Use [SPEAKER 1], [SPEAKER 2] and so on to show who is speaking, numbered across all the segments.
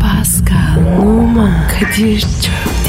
[SPEAKER 1] Pascal, Oman, Kadir çok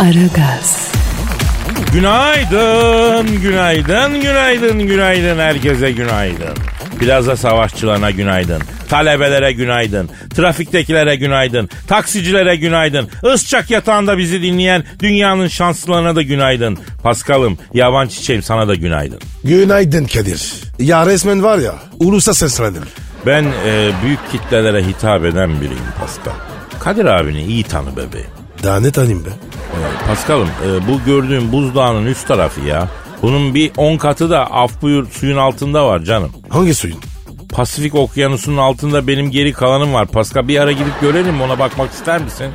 [SPEAKER 1] Aragaz,
[SPEAKER 2] Günaydın, günaydın, günaydın, günaydın herkese günaydın. Plaza savaşçılarına günaydın, talebelere günaydın, trafiktekilere günaydın, taksicilere günaydın, ısçak yatağında bizi dinleyen dünyanın şanslılarına da günaydın. Paskal'ım, yaban çiçeğim sana da günaydın.
[SPEAKER 3] Günaydın Kadir. Ya resmen var ya ulusa seslendim.
[SPEAKER 2] Ben e, büyük kitlelere hitap eden biriyim Paskal. Kadir abini iyi tanı bebeğim.
[SPEAKER 3] Daha ne tanıyım be?
[SPEAKER 2] E, Paskal'ım e, bu gördüğün buzdağının üst tarafı ya. Bunun bir 10 katı da af buyur suyun altında var canım.
[SPEAKER 3] Hangi suyun?
[SPEAKER 2] Pasifik okyanusunun altında benim geri kalanım var. Paska bir ara gidip görelim mi? ona bakmak ister misin?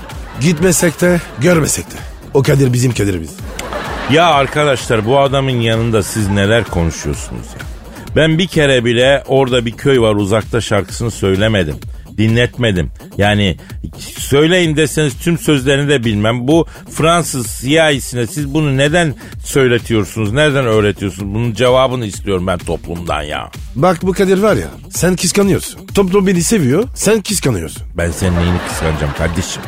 [SPEAKER 3] Gitmesek de görmesek de. O Kadir bizim Kadir'imiz.
[SPEAKER 2] Ya arkadaşlar bu adamın yanında siz neler konuşuyorsunuz ya? Ben bir kere bile orada bir köy var uzakta şarkısını söylemedim. Dinletmedim. Yani söyleyin deseniz tüm sözlerini de bilmem. Bu Fransız siyahisine siz bunu neden söyletiyorsunuz? Nereden öğretiyorsunuz? Bunun cevabını istiyorum ben toplumdan ya.
[SPEAKER 3] Bak bu Kadir var ya sen kıskanıyorsun. Toplum beni seviyor sen kıskanıyorsun.
[SPEAKER 2] Ben senin neyini kıskanacağım kardeşim?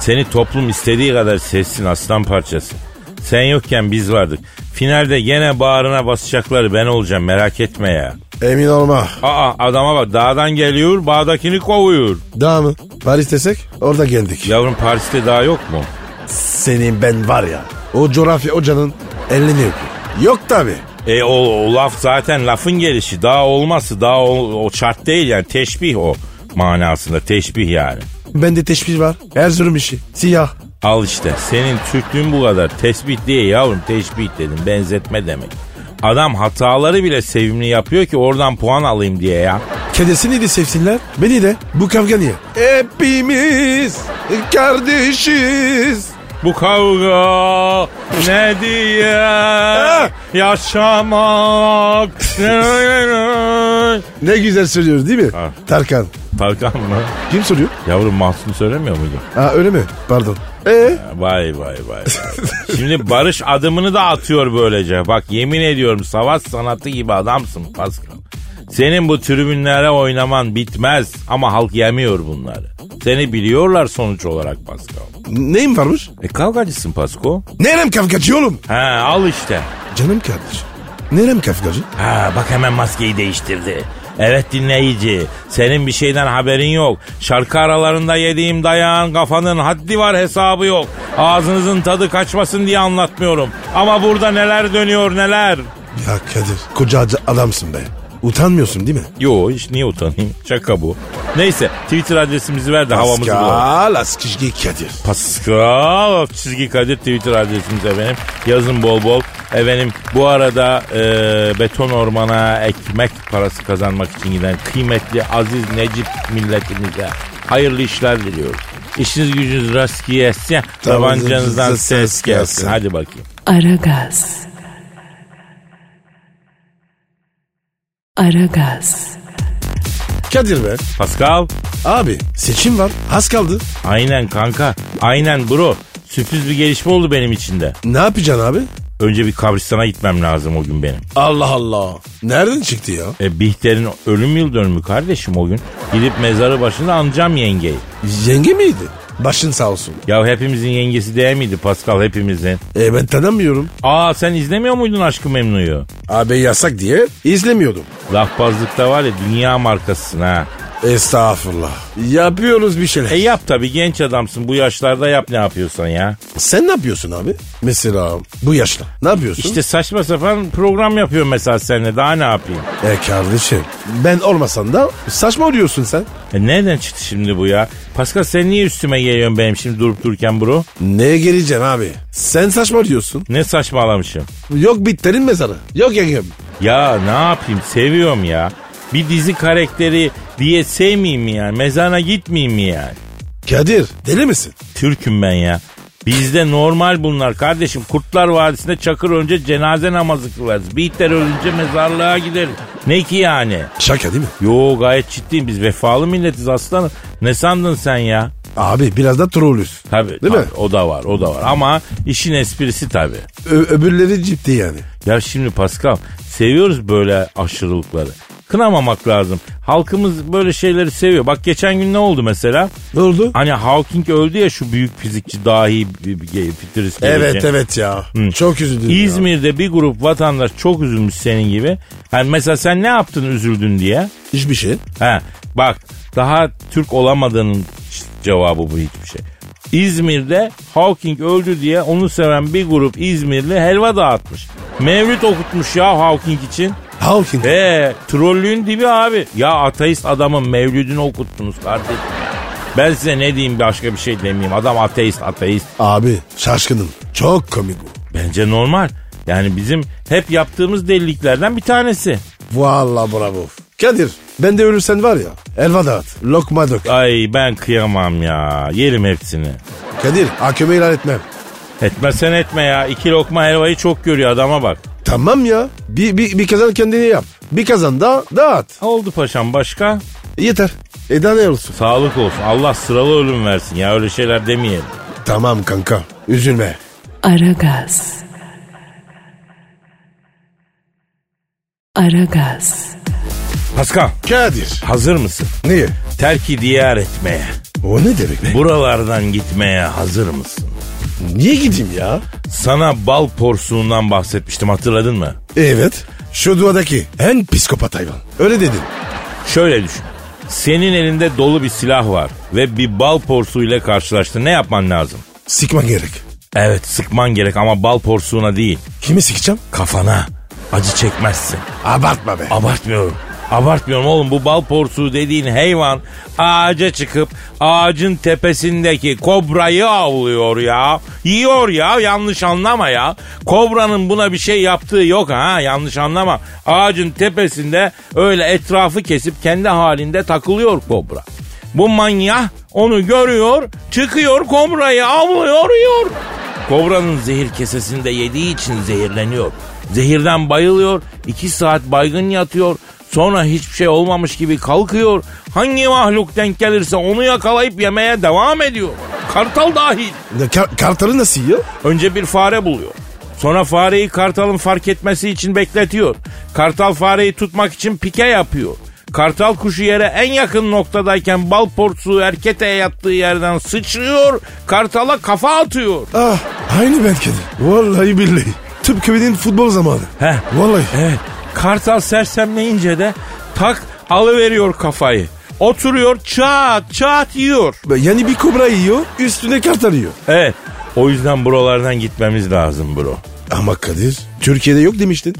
[SPEAKER 2] Seni toplum istediği kadar sevsin aslan parçası. Sen yokken biz vardık. Finalde gene bağrına basacakları ben olacağım merak etme ya.
[SPEAKER 3] Emin olma.
[SPEAKER 2] Aa adama bak dağdan geliyor bağdakini kovuyor.
[SPEAKER 3] Daha mı? Paris desek orada geldik.
[SPEAKER 2] Yavrum Paris'te dağ yok mu?
[SPEAKER 3] Senin ben var ya. O coğrafya hocanın elini öpüyor. Yok tabi.
[SPEAKER 2] E o, o laf zaten lafın gelişi dağ olması dağ o, o şart değil yani teşbih o manasında teşbih yani.
[SPEAKER 3] Bende teşbih var. Erzurum işi. Siyah.
[SPEAKER 2] Al işte senin Türklüğün bu kadar. Tespit diye yavrum teşbih dedim benzetme demek. Adam hataları bile sevimli yapıyor ki oradan puan alayım diye ya.
[SPEAKER 3] Kedisini de sevsinler, beni de. Bu kavga niye? Hepimiz kardeşiz.
[SPEAKER 2] Bu kavga ne diye yaşamak.
[SPEAKER 3] Ne güzel söylüyor değil mi?
[SPEAKER 2] Ha.
[SPEAKER 3] Tarkan.
[SPEAKER 2] Tarkan mı?
[SPEAKER 3] Kim soruyor?
[SPEAKER 2] Yavrum Mahsun söylemiyor muydu?
[SPEAKER 3] Ha öyle mi? Pardon. Ee?
[SPEAKER 2] Vay vay vay. vay. Şimdi barış adımını da atıyor böylece. Bak yemin ediyorum savaş sanatı gibi adamsın Pascal. Senin bu tribünlere oynaman bitmez ama halk yemiyor bunları. Seni biliyorlar sonuç olarak Pascal.
[SPEAKER 3] Neyim varmış?
[SPEAKER 2] E kavgacısın Pasko.
[SPEAKER 3] Nerem kavgacı oğlum?
[SPEAKER 2] Ha al işte.
[SPEAKER 3] Canım kardeşim. Nerem kavgacı?
[SPEAKER 2] Ha bak hemen maskeyi değiştirdi. Evet dinleyici, senin bir şeyden haberin yok. Şarkı aralarında yediğim dayağın kafanın haddi var hesabı yok. Ağzınızın tadı kaçmasın diye anlatmıyorum. Ama burada neler dönüyor neler.
[SPEAKER 3] Ya Kadir, koca adamsın be. Utanmıyorsun değil mi?
[SPEAKER 2] Yo hiç niye utanayım? Şaka bu. Neyse Twitter adresimizi ver de havamızı bulalım.
[SPEAKER 3] Pascal Askışki Kadir.
[SPEAKER 2] Pascal alt çizgi Kadir Twitter adresimiz efendim. Yazın bol bol. Efendim bu arada e, beton ormana ekmek parası kazanmak için giden kıymetli aziz Necip milletimize hayırlı işler diliyoruz. İşiniz gücünüz rast gelsin.
[SPEAKER 3] Tabii,
[SPEAKER 2] Tabancanızdan
[SPEAKER 3] bize
[SPEAKER 2] ses
[SPEAKER 3] ses
[SPEAKER 2] gelsin.
[SPEAKER 3] gelsin.
[SPEAKER 2] Hadi bakayım.
[SPEAKER 1] Aragaz. Aragaz,
[SPEAKER 3] Kadir be.
[SPEAKER 2] Pascal
[SPEAKER 3] Abi seçim var. Az kaldı.
[SPEAKER 2] aynen kanka aynen bro. Sürpriz bir gelişme oldu benim için de.
[SPEAKER 3] Ne yapacaksın abi?
[SPEAKER 2] Önce bir kabristana gitmem lazım o gün benim.
[SPEAKER 3] Allah Allah. Nereden çıktı ya?
[SPEAKER 2] E, Bihter'in ölüm yıl dönümü kardeşim o gün. Gidip mezarı başında anacağım yengeyi.
[SPEAKER 3] Yenge miydi? Başın sağ olsun.
[SPEAKER 2] Ya hepimizin yengesi değil miydi Pascal hepimizin?
[SPEAKER 3] E ben tanımıyorum.
[SPEAKER 2] Aa sen izlemiyor muydun Aşkı Memnu'yu?
[SPEAKER 3] Abi yasak diye izlemiyordum.
[SPEAKER 2] Lafbazlıkta var ya dünya markasısın ha.
[SPEAKER 3] Estağfurullah. Yapıyoruz bir şeyler.
[SPEAKER 2] E yap tabi genç adamsın bu yaşlarda yap ne yapıyorsan ya.
[SPEAKER 3] sen ne yapıyorsun abi? Mesela bu yaşta. Ne yapıyorsun?
[SPEAKER 2] İşte saçma sapan program yapıyor mesela seninle daha ne yapayım?
[SPEAKER 3] E kardeşim ben olmasan da saçma oluyorsun sen.
[SPEAKER 2] E nereden çıktı şimdi bu ya? Pascal sen niye üstüme geliyorsun benim şimdi durup dururken bro?
[SPEAKER 3] Neye geleceksin abi? Sen saçma diyorsun.
[SPEAKER 2] Ne saçmalamışım?
[SPEAKER 3] Yok bitlerin mezarı. Yok yengem.
[SPEAKER 2] Ya ne yapayım seviyorum ya. Bir dizi karakteri diye sevmeyeyim mi yani? Mezana gitmeyeyim mi yani?
[SPEAKER 3] Kadir deli misin?
[SPEAKER 2] Türk'üm ben ya. Bizde normal bunlar kardeşim. Kurtlar Vadisi'nde çakır önce cenaze namazı kılarız. Bihter ölünce mezarlığa gideriz. Ne ki yani?
[SPEAKER 3] Şaka değil mi?
[SPEAKER 2] Yo gayet ciddiyim biz vefalı milletiz aslanım. Ne sandın sen ya?
[SPEAKER 3] Abi biraz da trollüz.
[SPEAKER 2] Tabii,
[SPEAKER 3] Değil
[SPEAKER 2] tabii,
[SPEAKER 3] mi?
[SPEAKER 2] o da var o da var ama işin esprisi tabii.
[SPEAKER 3] Ö- öbürleri ciddi yani.
[SPEAKER 2] Ya şimdi Pascal seviyoruz böyle aşırılıkları. Kınamamak lazım. Halkımız böyle şeyleri seviyor. Bak geçen gün ne oldu mesela?
[SPEAKER 3] Ne oldu?
[SPEAKER 2] Hani Hawking öldü ya şu büyük fizikçi dahi bir- bir- bir- futurist.
[SPEAKER 3] Evet
[SPEAKER 2] geleceğin.
[SPEAKER 3] evet ya. Çok üzüldüm ya.
[SPEAKER 2] İzmir'de bir grup vatandaş çok üzülmüş senin gibi. Hani mesela sen ne yaptın üzüldün diye.
[SPEAKER 3] Hiçbir şey.
[SPEAKER 2] Ha bak daha Türk olamadığının cevabı bu hiçbir şey. İzmir'de Hawking öldü diye onu seven bir grup İzmirli helva dağıtmış. Mevlüt okutmuş ya Hawking için.
[SPEAKER 3] Hawking.
[SPEAKER 2] He trollüğün dibi abi. Ya ateist adamın mevlüdünü okuttunuz kardeşim. Ben size ne diyeyim başka bir şey demeyeyim. Adam ateist ateist.
[SPEAKER 3] Abi şaşkınım. Çok komik bu.
[SPEAKER 2] Bence normal. Yani bizim hep yaptığımız deliliklerden bir tanesi.
[SPEAKER 3] Valla bravo. Kadir ben de ölürsen var ya. Elva dağıt. Lokma dök.
[SPEAKER 2] Ay ben kıyamam ya. Yerim hepsini.
[SPEAKER 3] Kadir hakeme ilan etmem.
[SPEAKER 2] Etmesen etme ya. İki lokma helvayı çok görüyor adama bak.
[SPEAKER 3] Tamam ya. Bir, bir, bir kazan kendini yap. Bir kazan da dağıt.
[SPEAKER 2] Oldu paşam başka?
[SPEAKER 3] Yeter. E daha ne olsun?
[SPEAKER 2] Sağlık olsun. Allah sıralı ölüm versin ya öyle şeyler demeyelim.
[SPEAKER 3] Tamam kanka. Üzülme.
[SPEAKER 1] Aragaz. Aragaz.
[SPEAKER 2] Pascal
[SPEAKER 3] Kadir.
[SPEAKER 2] hazır mısın?
[SPEAKER 3] Niye?
[SPEAKER 2] Terki diyar etmeye,
[SPEAKER 3] O ne demek be?
[SPEAKER 2] buralardan gitmeye hazır mısın?
[SPEAKER 3] Niye gideyim ya?
[SPEAKER 2] Sana bal porsuğundan bahsetmiştim hatırladın mı?
[SPEAKER 3] Evet. Şu duadaki en psikopat hayvan. Öyle dedin.
[SPEAKER 2] Şöyle düşün. Senin elinde dolu bir silah var ve bir bal porsuğuyla karşılaştın. Ne yapman lazım?
[SPEAKER 3] Sikman gerek.
[SPEAKER 2] Evet sıkman gerek ama bal porsuğuna değil.
[SPEAKER 3] Kimi sikeceğim?
[SPEAKER 2] Kafana. Acı çekmezsin.
[SPEAKER 3] Abartma be.
[SPEAKER 2] Abartmıyorum. Abartmıyorum oğlum bu bal porsuğu dediğin hayvan ağaca çıkıp ağacın tepesindeki kobrayı avlıyor ya. Yiyor ya yanlış anlama ya. Kobranın buna bir şey yaptığı yok ha yanlış anlama. Ağacın tepesinde öyle etrafı kesip kendi halinde takılıyor kobra. Bu manyah onu görüyor çıkıyor kobrayı avlıyor yiyor. Kobranın zehir kesesinde yediği için zehirleniyor. Zehirden bayılıyor, iki saat baygın yatıyor, sonra hiçbir şey olmamış gibi kalkıyor. Hangi mahluk denk gelirse onu yakalayıp yemeye devam ediyor. Kartal dahil.
[SPEAKER 3] Ne, kar- kartalı nasıl yiyor?
[SPEAKER 2] Önce bir fare buluyor. Sonra fareyi kartalın fark etmesi için bekletiyor. Kartal fareyi tutmak için pike yapıyor. Kartal kuşu yere en yakın noktadayken bal porsuğu erketeğe yattığı yerden sıçrıyor. Kartala kafa atıyor.
[SPEAKER 3] Ah aynı ben Kadir. Vallahi billahi. Tıpkı benim futbol zamanı.
[SPEAKER 2] He.
[SPEAKER 3] Vallahi.
[SPEAKER 2] Evet. Kartal sersemleyince de tak alıveriyor kafayı. Oturuyor çat çat yiyor.
[SPEAKER 3] Yani bir kobra yiyor üstüne kartal yiyor.
[SPEAKER 2] Evet. O yüzden buralardan gitmemiz lazım bro.
[SPEAKER 3] Ama Kadir Türkiye'de yok demiştin.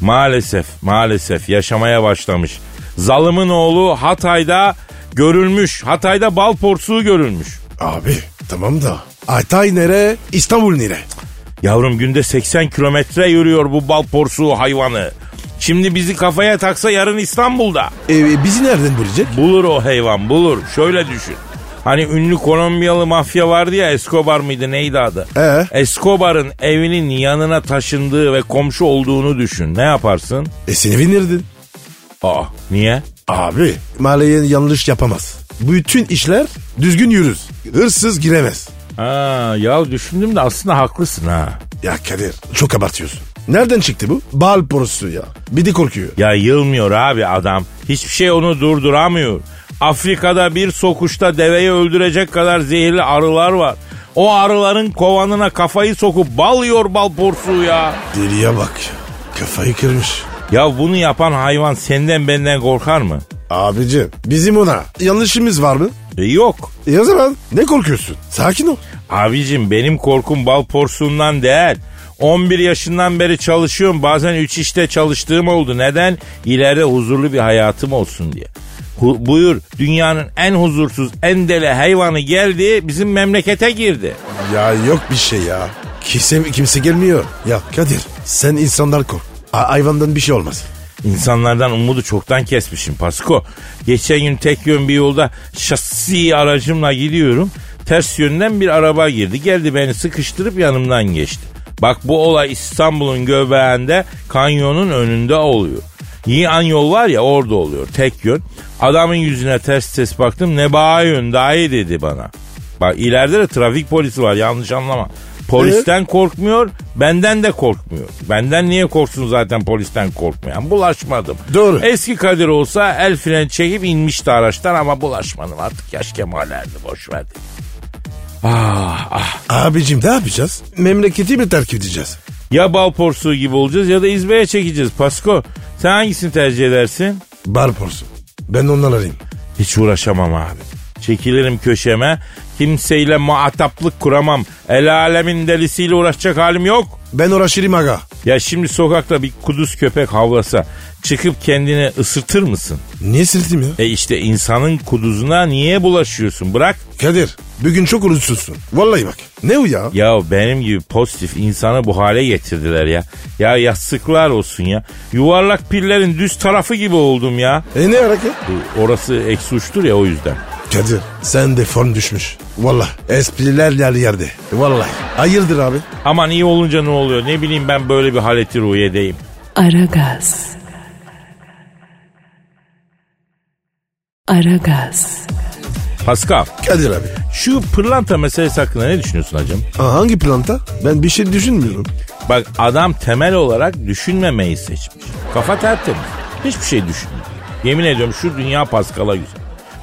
[SPEAKER 2] Maalesef maalesef yaşamaya başlamış. Zalımın oğlu Hatay'da görülmüş. Hatay'da bal porsuğu görülmüş.
[SPEAKER 3] Abi tamam da. Aytay nere İstanbul nere?
[SPEAKER 2] Yavrum günde 80 kilometre yürüyor bu bal porsuğu hayvanı. Şimdi bizi kafaya taksa yarın İstanbul'da.
[SPEAKER 3] E, bizi nereden bulacak?
[SPEAKER 2] Bulur o hayvan bulur. Şöyle düşün. Hani ünlü Kolombiyalı mafya vardı ya Escobar mıydı neydi adı?
[SPEAKER 3] Ee?
[SPEAKER 2] Escobar'ın evinin yanına taşındığı ve komşu olduğunu düşün. Ne yaparsın?
[SPEAKER 3] E seni evin nereden?
[SPEAKER 2] Aa niye?
[SPEAKER 3] Abi. Mahalleye yanlış yapamaz. Bütün işler düzgün yürür. Hırsız giremez.
[SPEAKER 2] Ha, ya düşündüm de aslında haklısın ha.
[SPEAKER 3] Ya Kadir çok abartıyorsun. Nereden çıktı bu? Bal porusu ya. Bir de korkuyor.
[SPEAKER 2] Ya yılmıyor abi adam. Hiçbir şey onu durduramıyor. Afrika'da bir sokuşta deveyi öldürecek kadar zehirli arılar var. O arıların kovanına kafayı sokup bal yiyor bal porsuğu ya.
[SPEAKER 3] Deliye bak ya. Kafayı kırmış.
[SPEAKER 2] Ya bunu yapan hayvan senden benden korkar mı?
[SPEAKER 3] Abicim bizim ona yanlışımız var mı?
[SPEAKER 2] E, yok.
[SPEAKER 3] E o zaman ne korkuyorsun? Sakin ol.
[SPEAKER 2] Abicim benim korkum bal porsuğundan değil. 11 yaşından beri çalışıyorum. Bazen 3 işte çalıştığım oldu. Neden? İleride huzurlu bir hayatım olsun diye. Hu- buyur dünyanın en huzursuz en deli hayvanı geldi bizim memlekete girdi.
[SPEAKER 3] Ya yok bir şey ya. Kimse, kimse gelmiyor. Ya Kadir sen insanlar kork. A- hayvandan bir şey olmaz.
[SPEAKER 2] İnsanlardan umudu çoktan kesmişim Pasko. Geçen gün tek yön bir yolda şasi aracımla gidiyorum. Ters yönden bir araba girdi. Geldi beni sıkıştırıp yanımdan geçti. Bak bu olay İstanbul'un göbeğinde kanyonun önünde oluyor. Yiğan yol var ya orada oluyor tek yön. Adamın yüzüne ters ters baktım ne bağ yön dahi dedi bana. Bak ileride de trafik polisi var yanlış anlama. Polisten korkmuyor, benden de korkmuyor. Benden niye korksun zaten polisten korkmayan? Bulaşmadım.
[SPEAKER 3] Doğru.
[SPEAKER 2] Eski Kadir olsa el freni çekip inmişti araçtan ama bulaşmadım. Artık yaş kemal erdi boş ver. dedim. Ah, ah.
[SPEAKER 3] Abicim ne yapacağız? Memleketi mi terk edeceğiz?
[SPEAKER 2] Ya bal porsuğu gibi olacağız ya da izbeye çekeceğiz Pasko. Sen hangisini tercih edersin?
[SPEAKER 3] Bar porsu. Ben ondan arayayım.
[SPEAKER 2] Hiç uğraşamam abi. Çekilirim köşeme. Kimseyle muhataplık kuramam. El alemin delisiyle uğraşacak halim yok.
[SPEAKER 3] Ben uğraşırım aga.
[SPEAKER 2] Ya şimdi sokakta bir kuduz köpek havlasa çıkıp kendini ısırtır mısın?
[SPEAKER 3] Niye sildim ya?
[SPEAKER 2] E işte insanın kuduzuna niye bulaşıyorsun? Bırak.
[SPEAKER 3] Kadir bugün çok uğraşsızsın. Vallahi bak. Ne o ya?
[SPEAKER 2] Ya benim gibi pozitif insanı bu hale getirdiler ya. Ya yastıklar olsun ya. Yuvarlak pillerin düz tarafı gibi oldum ya.
[SPEAKER 3] E ne hareket?
[SPEAKER 2] E, Orası eksi uçtur ya o yüzden.
[SPEAKER 3] Kadir sen de form düşmüş. Vallahi espriler yer yerde. Vallahi. Hayırdır abi?
[SPEAKER 2] Aman iyi olunca ne oluyor? Ne bileyim ben böyle bir haleti ruhiyedeyim.
[SPEAKER 1] Aragaz. Aragaz.
[SPEAKER 2] Pascal,
[SPEAKER 3] Kadir abi.
[SPEAKER 2] şu pırlanta meselesi hakkında ne düşünüyorsun hacım?
[SPEAKER 3] Aa, hangi planta? Ben bir şey düşünmüyorum.
[SPEAKER 2] Bak adam temel olarak düşünmemeyi seçmiş. Kafa tertemiz. Hiçbir şey düşünmüyor. Yemin ediyorum şu dünya Pascal'a güzel.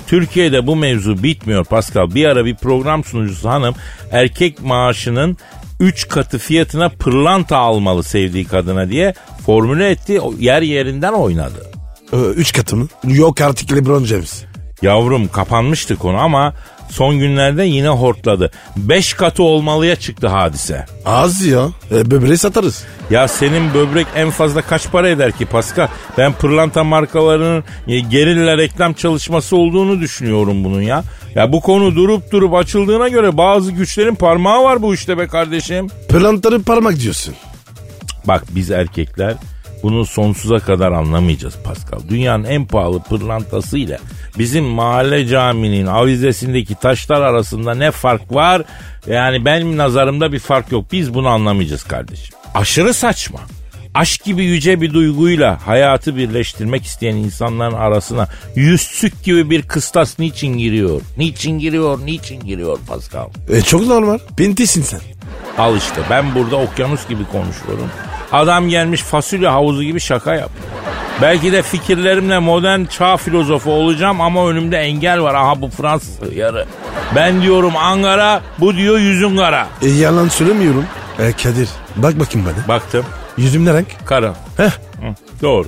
[SPEAKER 2] Türkiye'de bu mevzu bitmiyor Pascal. Bir ara bir program sunucusu hanım erkek maaşının 3 katı fiyatına pırlanta almalı sevdiği kadına diye formüle etti. O Yer yerinden oynadı.
[SPEAKER 3] Ee, üç katı mı? Yok artık Lebron James.
[SPEAKER 2] Yavrum kapanmıştı konu ama son günlerde yine hortladı. 5 katı olmalıya çıktı hadise.
[SPEAKER 3] Az ya. E, böbreği satarız.
[SPEAKER 2] Ya senin böbrek en fazla kaç para eder ki Pascal? Ben pırlanta markalarının e, gerilla reklam çalışması olduğunu düşünüyorum bunun ya. Ya bu konu durup durup açıldığına göre bazı güçlerin parmağı var bu işte be kardeşim.
[SPEAKER 3] Pırlantaları parmak diyorsun.
[SPEAKER 2] Bak biz erkekler bunu sonsuza kadar anlamayacağız Pascal. Dünyanın en pahalı pırlantasıyla bizim mahalle caminin avizesindeki taşlar arasında ne fark var? Yani benim nazarımda bir fark yok. Biz bunu anlamayacağız kardeşim. Aşırı saçma. Aşk gibi yüce bir duyguyla hayatı birleştirmek isteyen insanların arasına yüzsük gibi bir kıstas niçin giriyor? Niçin giriyor? Niçin giriyor Pascal?
[SPEAKER 3] E, çok normal. Pintisin sen.
[SPEAKER 2] Al işte ben burada okyanus gibi konuşuyorum. Adam gelmiş fasulye havuzu gibi şaka yapıyor. Belki de fikirlerimle modern çağ filozofu olacağım ama önümde engel var. Aha bu Fransız yarı. Ben diyorum Ankara, bu diyor yüzün kara.
[SPEAKER 3] E, yalan söylemiyorum. E, Kadir bak bakayım bana.
[SPEAKER 2] Baktım
[SPEAKER 3] Yüzüm ne renk?
[SPEAKER 2] kara.
[SPEAKER 3] Heh.
[SPEAKER 2] Hı, doğru.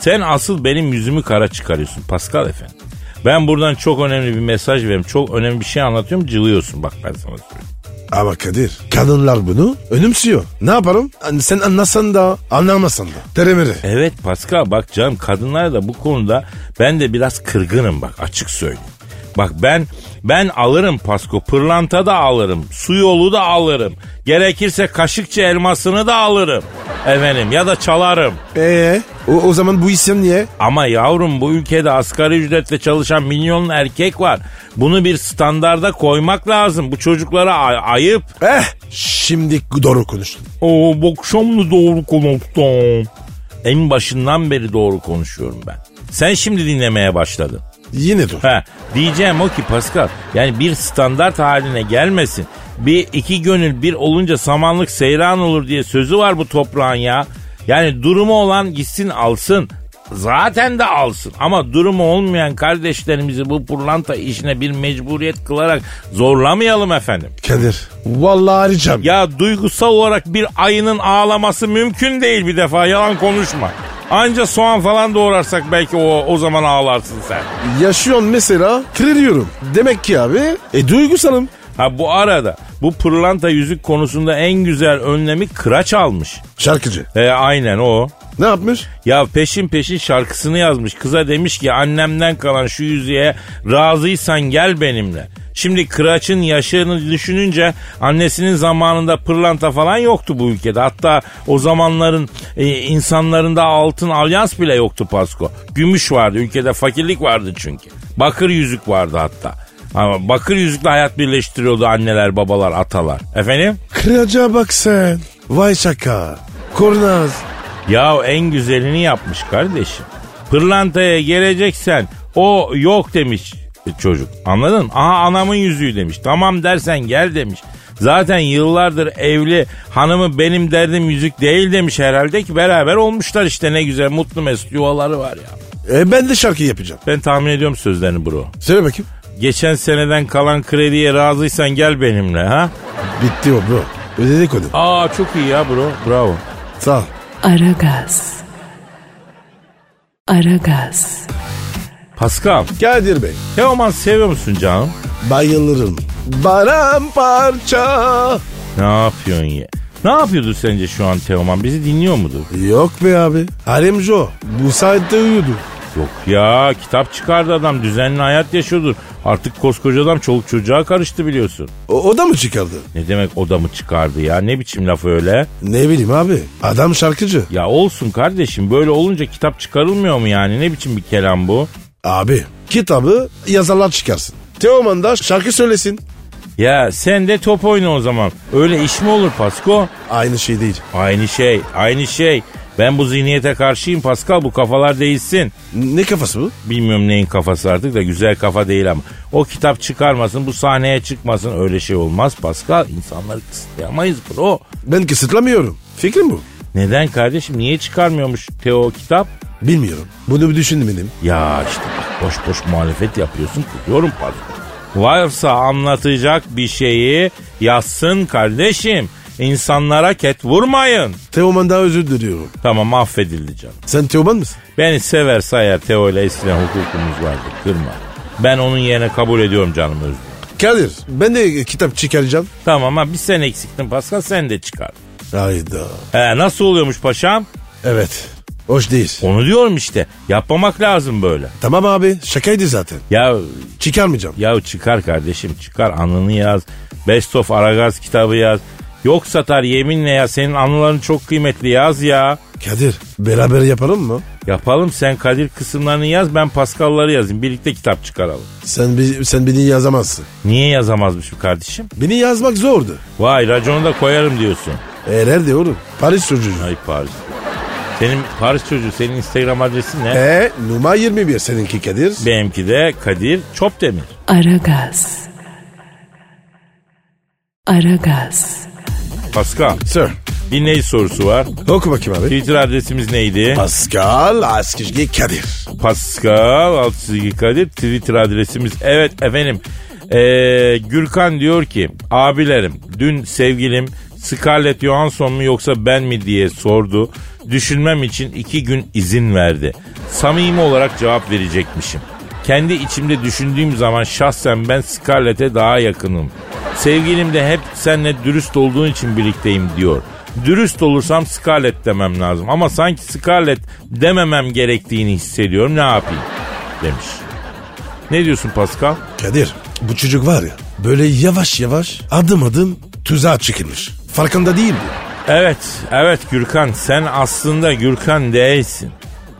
[SPEAKER 2] Sen asıl benim yüzümü kara çıkarıyorsun Pascal efendim. Ben buradan çok önemli bir mesaj veriyorum. Çok önemli bir şey anlatıyorum. Cılıyorsun bak ben sana söyleyeyim.
[SPEAKER 3] Ama Kadir kadınlar bunu önümsüyor. Ne yaparım? An- Sen anlasan da anlamasan da. Teremere.
[SPEAKER 2] Evet Pascal bak canım kadınlar da bu konuda ben de biraz kırgınım bak açık söyleyeyim. Bak ben ben alırım Pasko pırlanta da alırım su yolu da alırım gerekirse kaşıkçı elmasını da alırım efendim ya da çalarım.
[SPEAKER 3] Eee Ee, o, o zaman bu isyan niye?
[SPEAKER 2] Ama yavrum bu ülkede asgari ücretle çalışan milyonun erkek var. Bunu bir standarda koymak lazım. Bu çocuklara ay- ayıp.
[SPEAKER 3] Eh şimdi doğru konuştun.
[SPEAKER 2] Oo bu akşam mı doğru konuştum? En başından beri doğru konuşuyorum ben. Sen şimdi dinlemeye başladın.
[SPEAKER 3] Yine doğru.
[SPEAKER 2] Ha, diyeceğim o ki Pascal yani bir standart haline gelmesin. Bir iki gönül bir olunca samanlık seyran olur diye sözü var bu toprağın ya. Yani durumu olan gitsin alsın. Zaten de alsın ama durumu olmayan kardeşlerimizi bu pırlanta işine bir mecburiyet kılarak zorlamayalım efendim.
[SPEAKER 3] Kadir vallahi arayacağım.
[SPEAKER 2] Ya duygusal olarak bir ayının ağlaması mümkün değil bir defa yalan konuşma. Anca soğan falan doğrarsak belki o, o zaman ağlarsın sen.
[SPEAKER 3] Yaşıyorsun mesela kırıyorum. Demek ki abi e, duygusalım.
[SPEAKER 2] Ha bu arada bu pırlanta yüzük konusunda en güzel önlemi kıraç almış.
[SPEAKER 3] Şarkıcı.
[SPEAKER 2] E aynen o.
[SPEAKER 3] Ne yapmış?
[SPEAKER 2] Ya peşin peşin şarkısını yazmış. Kıza demiş ki annemden kalan şu yüzüğe razıysan gel benimle. Şimdi Kıraç'ın yaşını düşününce annesinin zamanında pırlanta falan yoktu bu ülkede. Hatta o zamanların e, insanlarında altın alyans bile yoktu Pasko. Gümüş vardı ülkede fakirlik vardı çünkü. Bakır yüzük vardı hatta. Ama bakır yüzükle hayat birleştiriyordu anneler, babalar, atalar. Efendim?
[SPEAKER 3] Kıraca bak sen. Vay şaka. Kornaz.
[SPEAKER 2] Ya en güzelini yapmış kardeşim. Pırlantaya geleceksen o yok demiş çocuk. Anladın mı? Aha anamın yüzüğü demiş. Tamam dersen gel demiş. Zaten yıllardır evli hanımı benim derdim yüzük değil demiş herhalde ki beraber olmuşlar işte ne güzel mutlu mesut yuvaları var ya.
[SPEAKER 3] E ben de şarkı yapacağım.
[SPEAKER 2] Ben tahmin ediyorum sözlerini bro.
[SPEAKER 3] Söyle bakayım.
[SPEAKER 2] Geçen seneden kalan krediye razıysan gel benimle ha.
[SPEAKER 3] Bitti o bro. Ödedik onu.
[SPEAKER 2] Aa çok iyi ya bro bravo.
[SPEAKER 3] Sağ ol.
[SPEAKER 1] Aragaz. Aragaz.
[SPEAKER 2] Pascal,
[SPEAKER 3] Kadir Bey.
[SPEAKER 2] Teoman seviyor musun canım?
[SPEAKER 3] Bayılırım. Baran parça.
[SPEAKER 2] Ne yapıyorsun ya? Ne yapıyordu sence şu an Teoman? Bizi dinliyor mudur?
[SPEAKER 3] Yok be abi. Alemci o. Bu saatte uyudu.
[SPEAKER 2] Yok ya kitap çıkardı adam düzenli hayat yaşıyordur. Artık koskoca adam çoluk çocuğa karıştı biliyorsun.
[SPEAKER 3] O, o da mı çıkardı?
[SPEAKER 2] Ne demek o da mı çıkardı ya? Ne biçim laf öyle?
[SPEAKER 3] Ne bileyim abi. Adam şarkıcı.
[SPEAKER 2] Ya olsun kardeşim böyle olunca kitap çıkarılmıyor mu yani? Ne biçim bir kelam bu?
[SPEAKER 3] Abi kitabı yazarlar çıkarsın. Teoman da şarkı söylesin.
[SPEAKER 2] Ya sen de top oyna o zaman. Öyle iş mi olur Pasko?
[SPEAKER 3] Aynı şey değil.
[SPEAKER 2] Aynı şey, aynı şey. Ben bu zihniyete karşıyım Pascal bu kafalar değilsin.
[SPEAKER 3] Ne kafası bu?
[SPEAKER 2] Bilmiyorum neyin kafası artık da güzel kafa değil ama. O kitap çıkarmasın, bu sahneye çıkmasın öyle şey olmaz Pascal. İnsanları kısıtlayamayız bro.
[SPEAKER 3] Ben kısıtlamıyorum. Fikrim bu.
[SPEAKER 2] Neden kardeşim? Niye çıkarmıyormuş Teo kitap?
[SPEAKER 3] Bilmiyorum. Bunu bir düşünmedim.
[SPEAKER 2] Ya işte bak boş boş muhalefet yapıyorsun. Kutluyorum Pascal. Varsa anlatacak bir şeyi yazsın kardeşim. İnsanlara ket vurmayın.
[SPEAKER 3] Teoman daha özür diliyorum.
[SPEAKER 2] Tamam affedildi canım.
[SPEAKER 3] Sen Teoman mısın?
[SPEAKER 2] Beni sever sayar Teo ile eskiden hukukumuz vardı. Kırma. Ben onun yerine kabul ediyorum canım özür.
[SPEAKER 3] Kadir ben de kitap çıkaracağım.
[SPEAKER 2] Tamam ha bir sen eksiktin Pascal sen de çıkar.
[SPEAKER 3] Hayda.
[SPEAKER 2] He, nasıl oluyormuş paşam?
[SPEAKER 3] Evet. Hoş değil.
[SPEAKER 2] Onu diyorum işte. Yapmamak lazım böyle.
[SPEAKER 3] Tamam abi şakaydı zaten.
[SPEAKER 2] Ya
[SPEAKER 3] Çıkarmayacağım.
[SPEAKER 2] ya çıkar kardeşim çıkar anını yaz. Best of Aragaz kitabı yaz. Yok satar yeminle ya senin anıların çok kıymetli yaz ya.
[SPEAKER 3] Kadir beraber yapalım mı?
[SPEAKER 2] Yapalım sen Kadir kısımlarını yaz ben Paskal'ları yazayım. Birlikte kitap çıkaralım.
[SPEAKER 3] Sen bi- sen beni yazamazsın.
[SPEAKER 2] Niye yazamazmış bu kardeşim?
[SPEAKER 3] Beni yazmak zordu.
[SPEAKER 2] Vay raconu da koyarım diyorsun.
[SPEAKER 3] Eğer de oğlum. Paris çocuğu.
[SPEAKER 2] Ay Paris. Senin Paris çocuğu senin Instagram adresin ne?
[SPEAKER 3] E numara 21 seninki Kadir.
[SPEAKER 2] Benimki de Kadir Çopdemir.
[SPEAKER 1] Aragaz. Aragaz.
[SPEAKER 2] Pascal
[SPEAKER 3] Sir.
[SPEAKER 2] dinleyici sorusu var.
[SPEAKER 3] Oku bakayım abi.
[SPEAKER 2] Twitter adresimiz neydi?
[SPEAKER 3] Pascal Askizgi Kadir.
[SPEAKER 2] Pascal Altçizgi Kadir Twitter adresimiz. Evet efendim. Ee, Gürkan diyor ki abilerim dün sevgilim Scarlett Johansson mu yoksa ben mi diye sordu. Düşünmem için iki gün izin verdi. Samimi olarak cevap verecekmişim. Kendi içimde düşündüğüm zaman şahsen ben Scarlett'e daha yakınım. Sevgilim de hep senle dürüst olduğun için birlikteyim diyor. Dürüst olursam Scarlett demem lazım. Ama sanki Scarlett dememem gerektiğini hissediyorum. Ne yapayım? Demiş. Ne diyorsun Pascal?
[SPEAKER 3] Kadir bu çocuk var ya böyle yavaş yavaş adım adım tuzağa çekilmiş. Farkında değil mi?
[SPEAKER 2] Evet, evet Gürkan. Sen aslında Gürkan değilsin.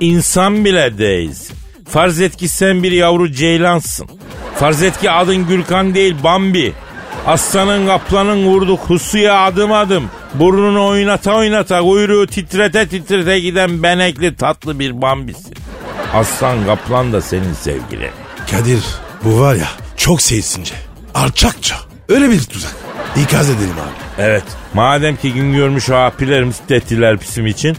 [SPEAKER 2] İnsan bile değilsin. Farz et ki sen bir yavru ceylansın. Farz et ki adın Gürkan değil Bambi. Aslanın kaplanın vurduk husuya adım adım. Burnunu oynata oynata kuyruğu titrete titrete giden benekli tatlı bir Bambisin. Aslan kaplan da senin sevgilin.
[SPEAKER 3] Kadir bu var ya çok seyitsince. Alçakça. Öyle bir tuzak. İkaz edelim abi.
[SPEAKER 2] Evet. Madem ki gün görmüş apilerimiz tettiler pisim için.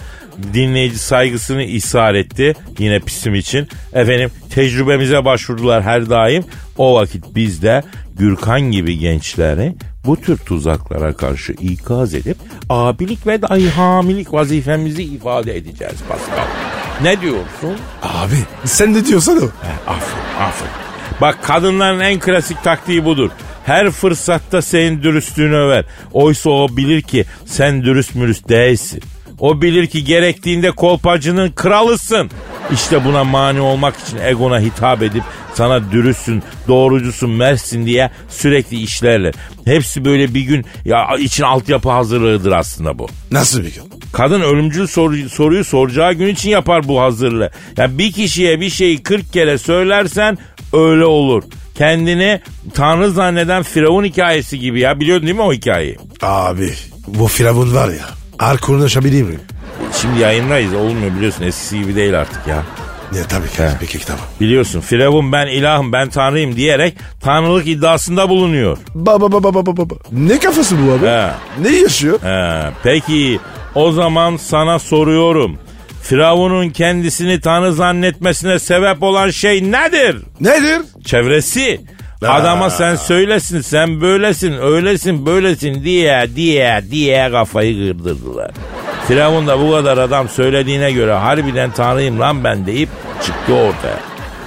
[SPEAKER 2] Dinleyici saygısını ishar etti yine pisim için. Efendim tecrübemize başvurdular her daim. O vakit biz de Gürkan gibi gençleri bu tür tuzaklara karşı ikaz edip abilik ve dahi hamilik vazifemizi ifade edeceğiz Pascal. Ne diyorsun?
[SPEAKER 3] Abi sen ne diyorsan o.
[SPEAKER 2] Aferin aferin. Bak kadınların en klasik taktiği budur. Her fırsatta senin dürüstlüğünü över. Oysa o bilir ki sen dürüst mürüst değilsin. O bilir ki gerektiğinde kolpacının kralısın. İşte buna mani olmak için egona hitap edip sana dürüstsün, doğrucusun, mersin diye sürekli işlerler. Hepsi böyle bir gün ya için altyapı hazırlığıdır aslında bu.
[SPEAKER 3] Nasıl bir gün?
[SPEAKER 2] Kadın ölümcül soru- soruyu soracağı gün için yapar bu hazırlığı. Ya bir kişiye bir şeyi 40 kere söylersen öyle olur. Kendini tanrı zanneden Firavun hikayesi gibi ya. Biliyordun değil mi o hikayeyi?
[SPEAKER 3] Abi bu firavun var ya. Ar konuşabilir miyim?
[SPEAKER 2] Şimdi yayındayız olmuyor biliyorsun eskisi gibi değil artık ya.
[SPEAKER 3] Ne tabii ki.
[SPEAKER 2] He.
[SPEAKER 3] Peki tamam.
[SPEAKER 2] Biliyorsun Firavun ben ilahım ben tanrıyım diyerek tanrılık iddiasında bulunuyor.
[SPEAKER 3] Baba baba baba baba. Ne kafası bu abi?
[SPEAKER 2] He.
[SPEAKER 3] Ne yaşıyor?
[SPEAKER 2] He, peki o zaman sana soruyorum. Firavun'un kendisini tanrı zannetmesine sebep olan şey nedir?
[SPEAKER 3] Nedir?
[SPEAKER 2] çevresi. Adama sen söylesin, sen böylesin, öylesin, böylesin diye diye diye kafayı kırdırdılar. Firavun da bu kadar adam söylediğine göre harbiden tanrıyım lan ben deyip çıktı ortaya.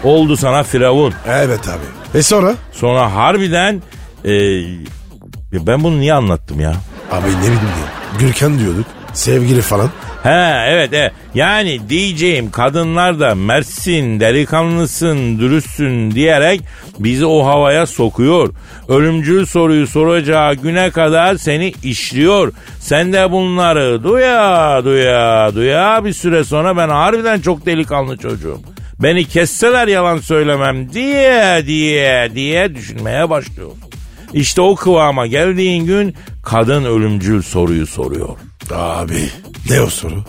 [SPEAKER 2] Oldu sana Firavun.
[SPEAKER 3] Evet abi. E sonra?
[SPEAKER 2] Sonra harbiden e, ya ben bunu niye anlattım ya?
[SPEAKER 3] Abi ne bileyim ya. Gürkan diyorduk. Sevgili falan.
[SPEAKER 2] He evet, evet. Yani diyeceğim kadınlar da mersin, delikanlısın, dürüstsün diyerek bizi o havaya sokuyor. Ölümcül soruyu soracağı güne kadar seni işliyor. Sen de bunları duya duya duya bir süre sonra ben harbiden çok delikanlı çocuğum. Beni kesseler yalan söylemem diye diye diye düşünmeye başlıyor. İşte o kıvama geldiğin gün kadın ölümcül soruyu soruyor.
[SPEAKER 3] Abi ne o soru?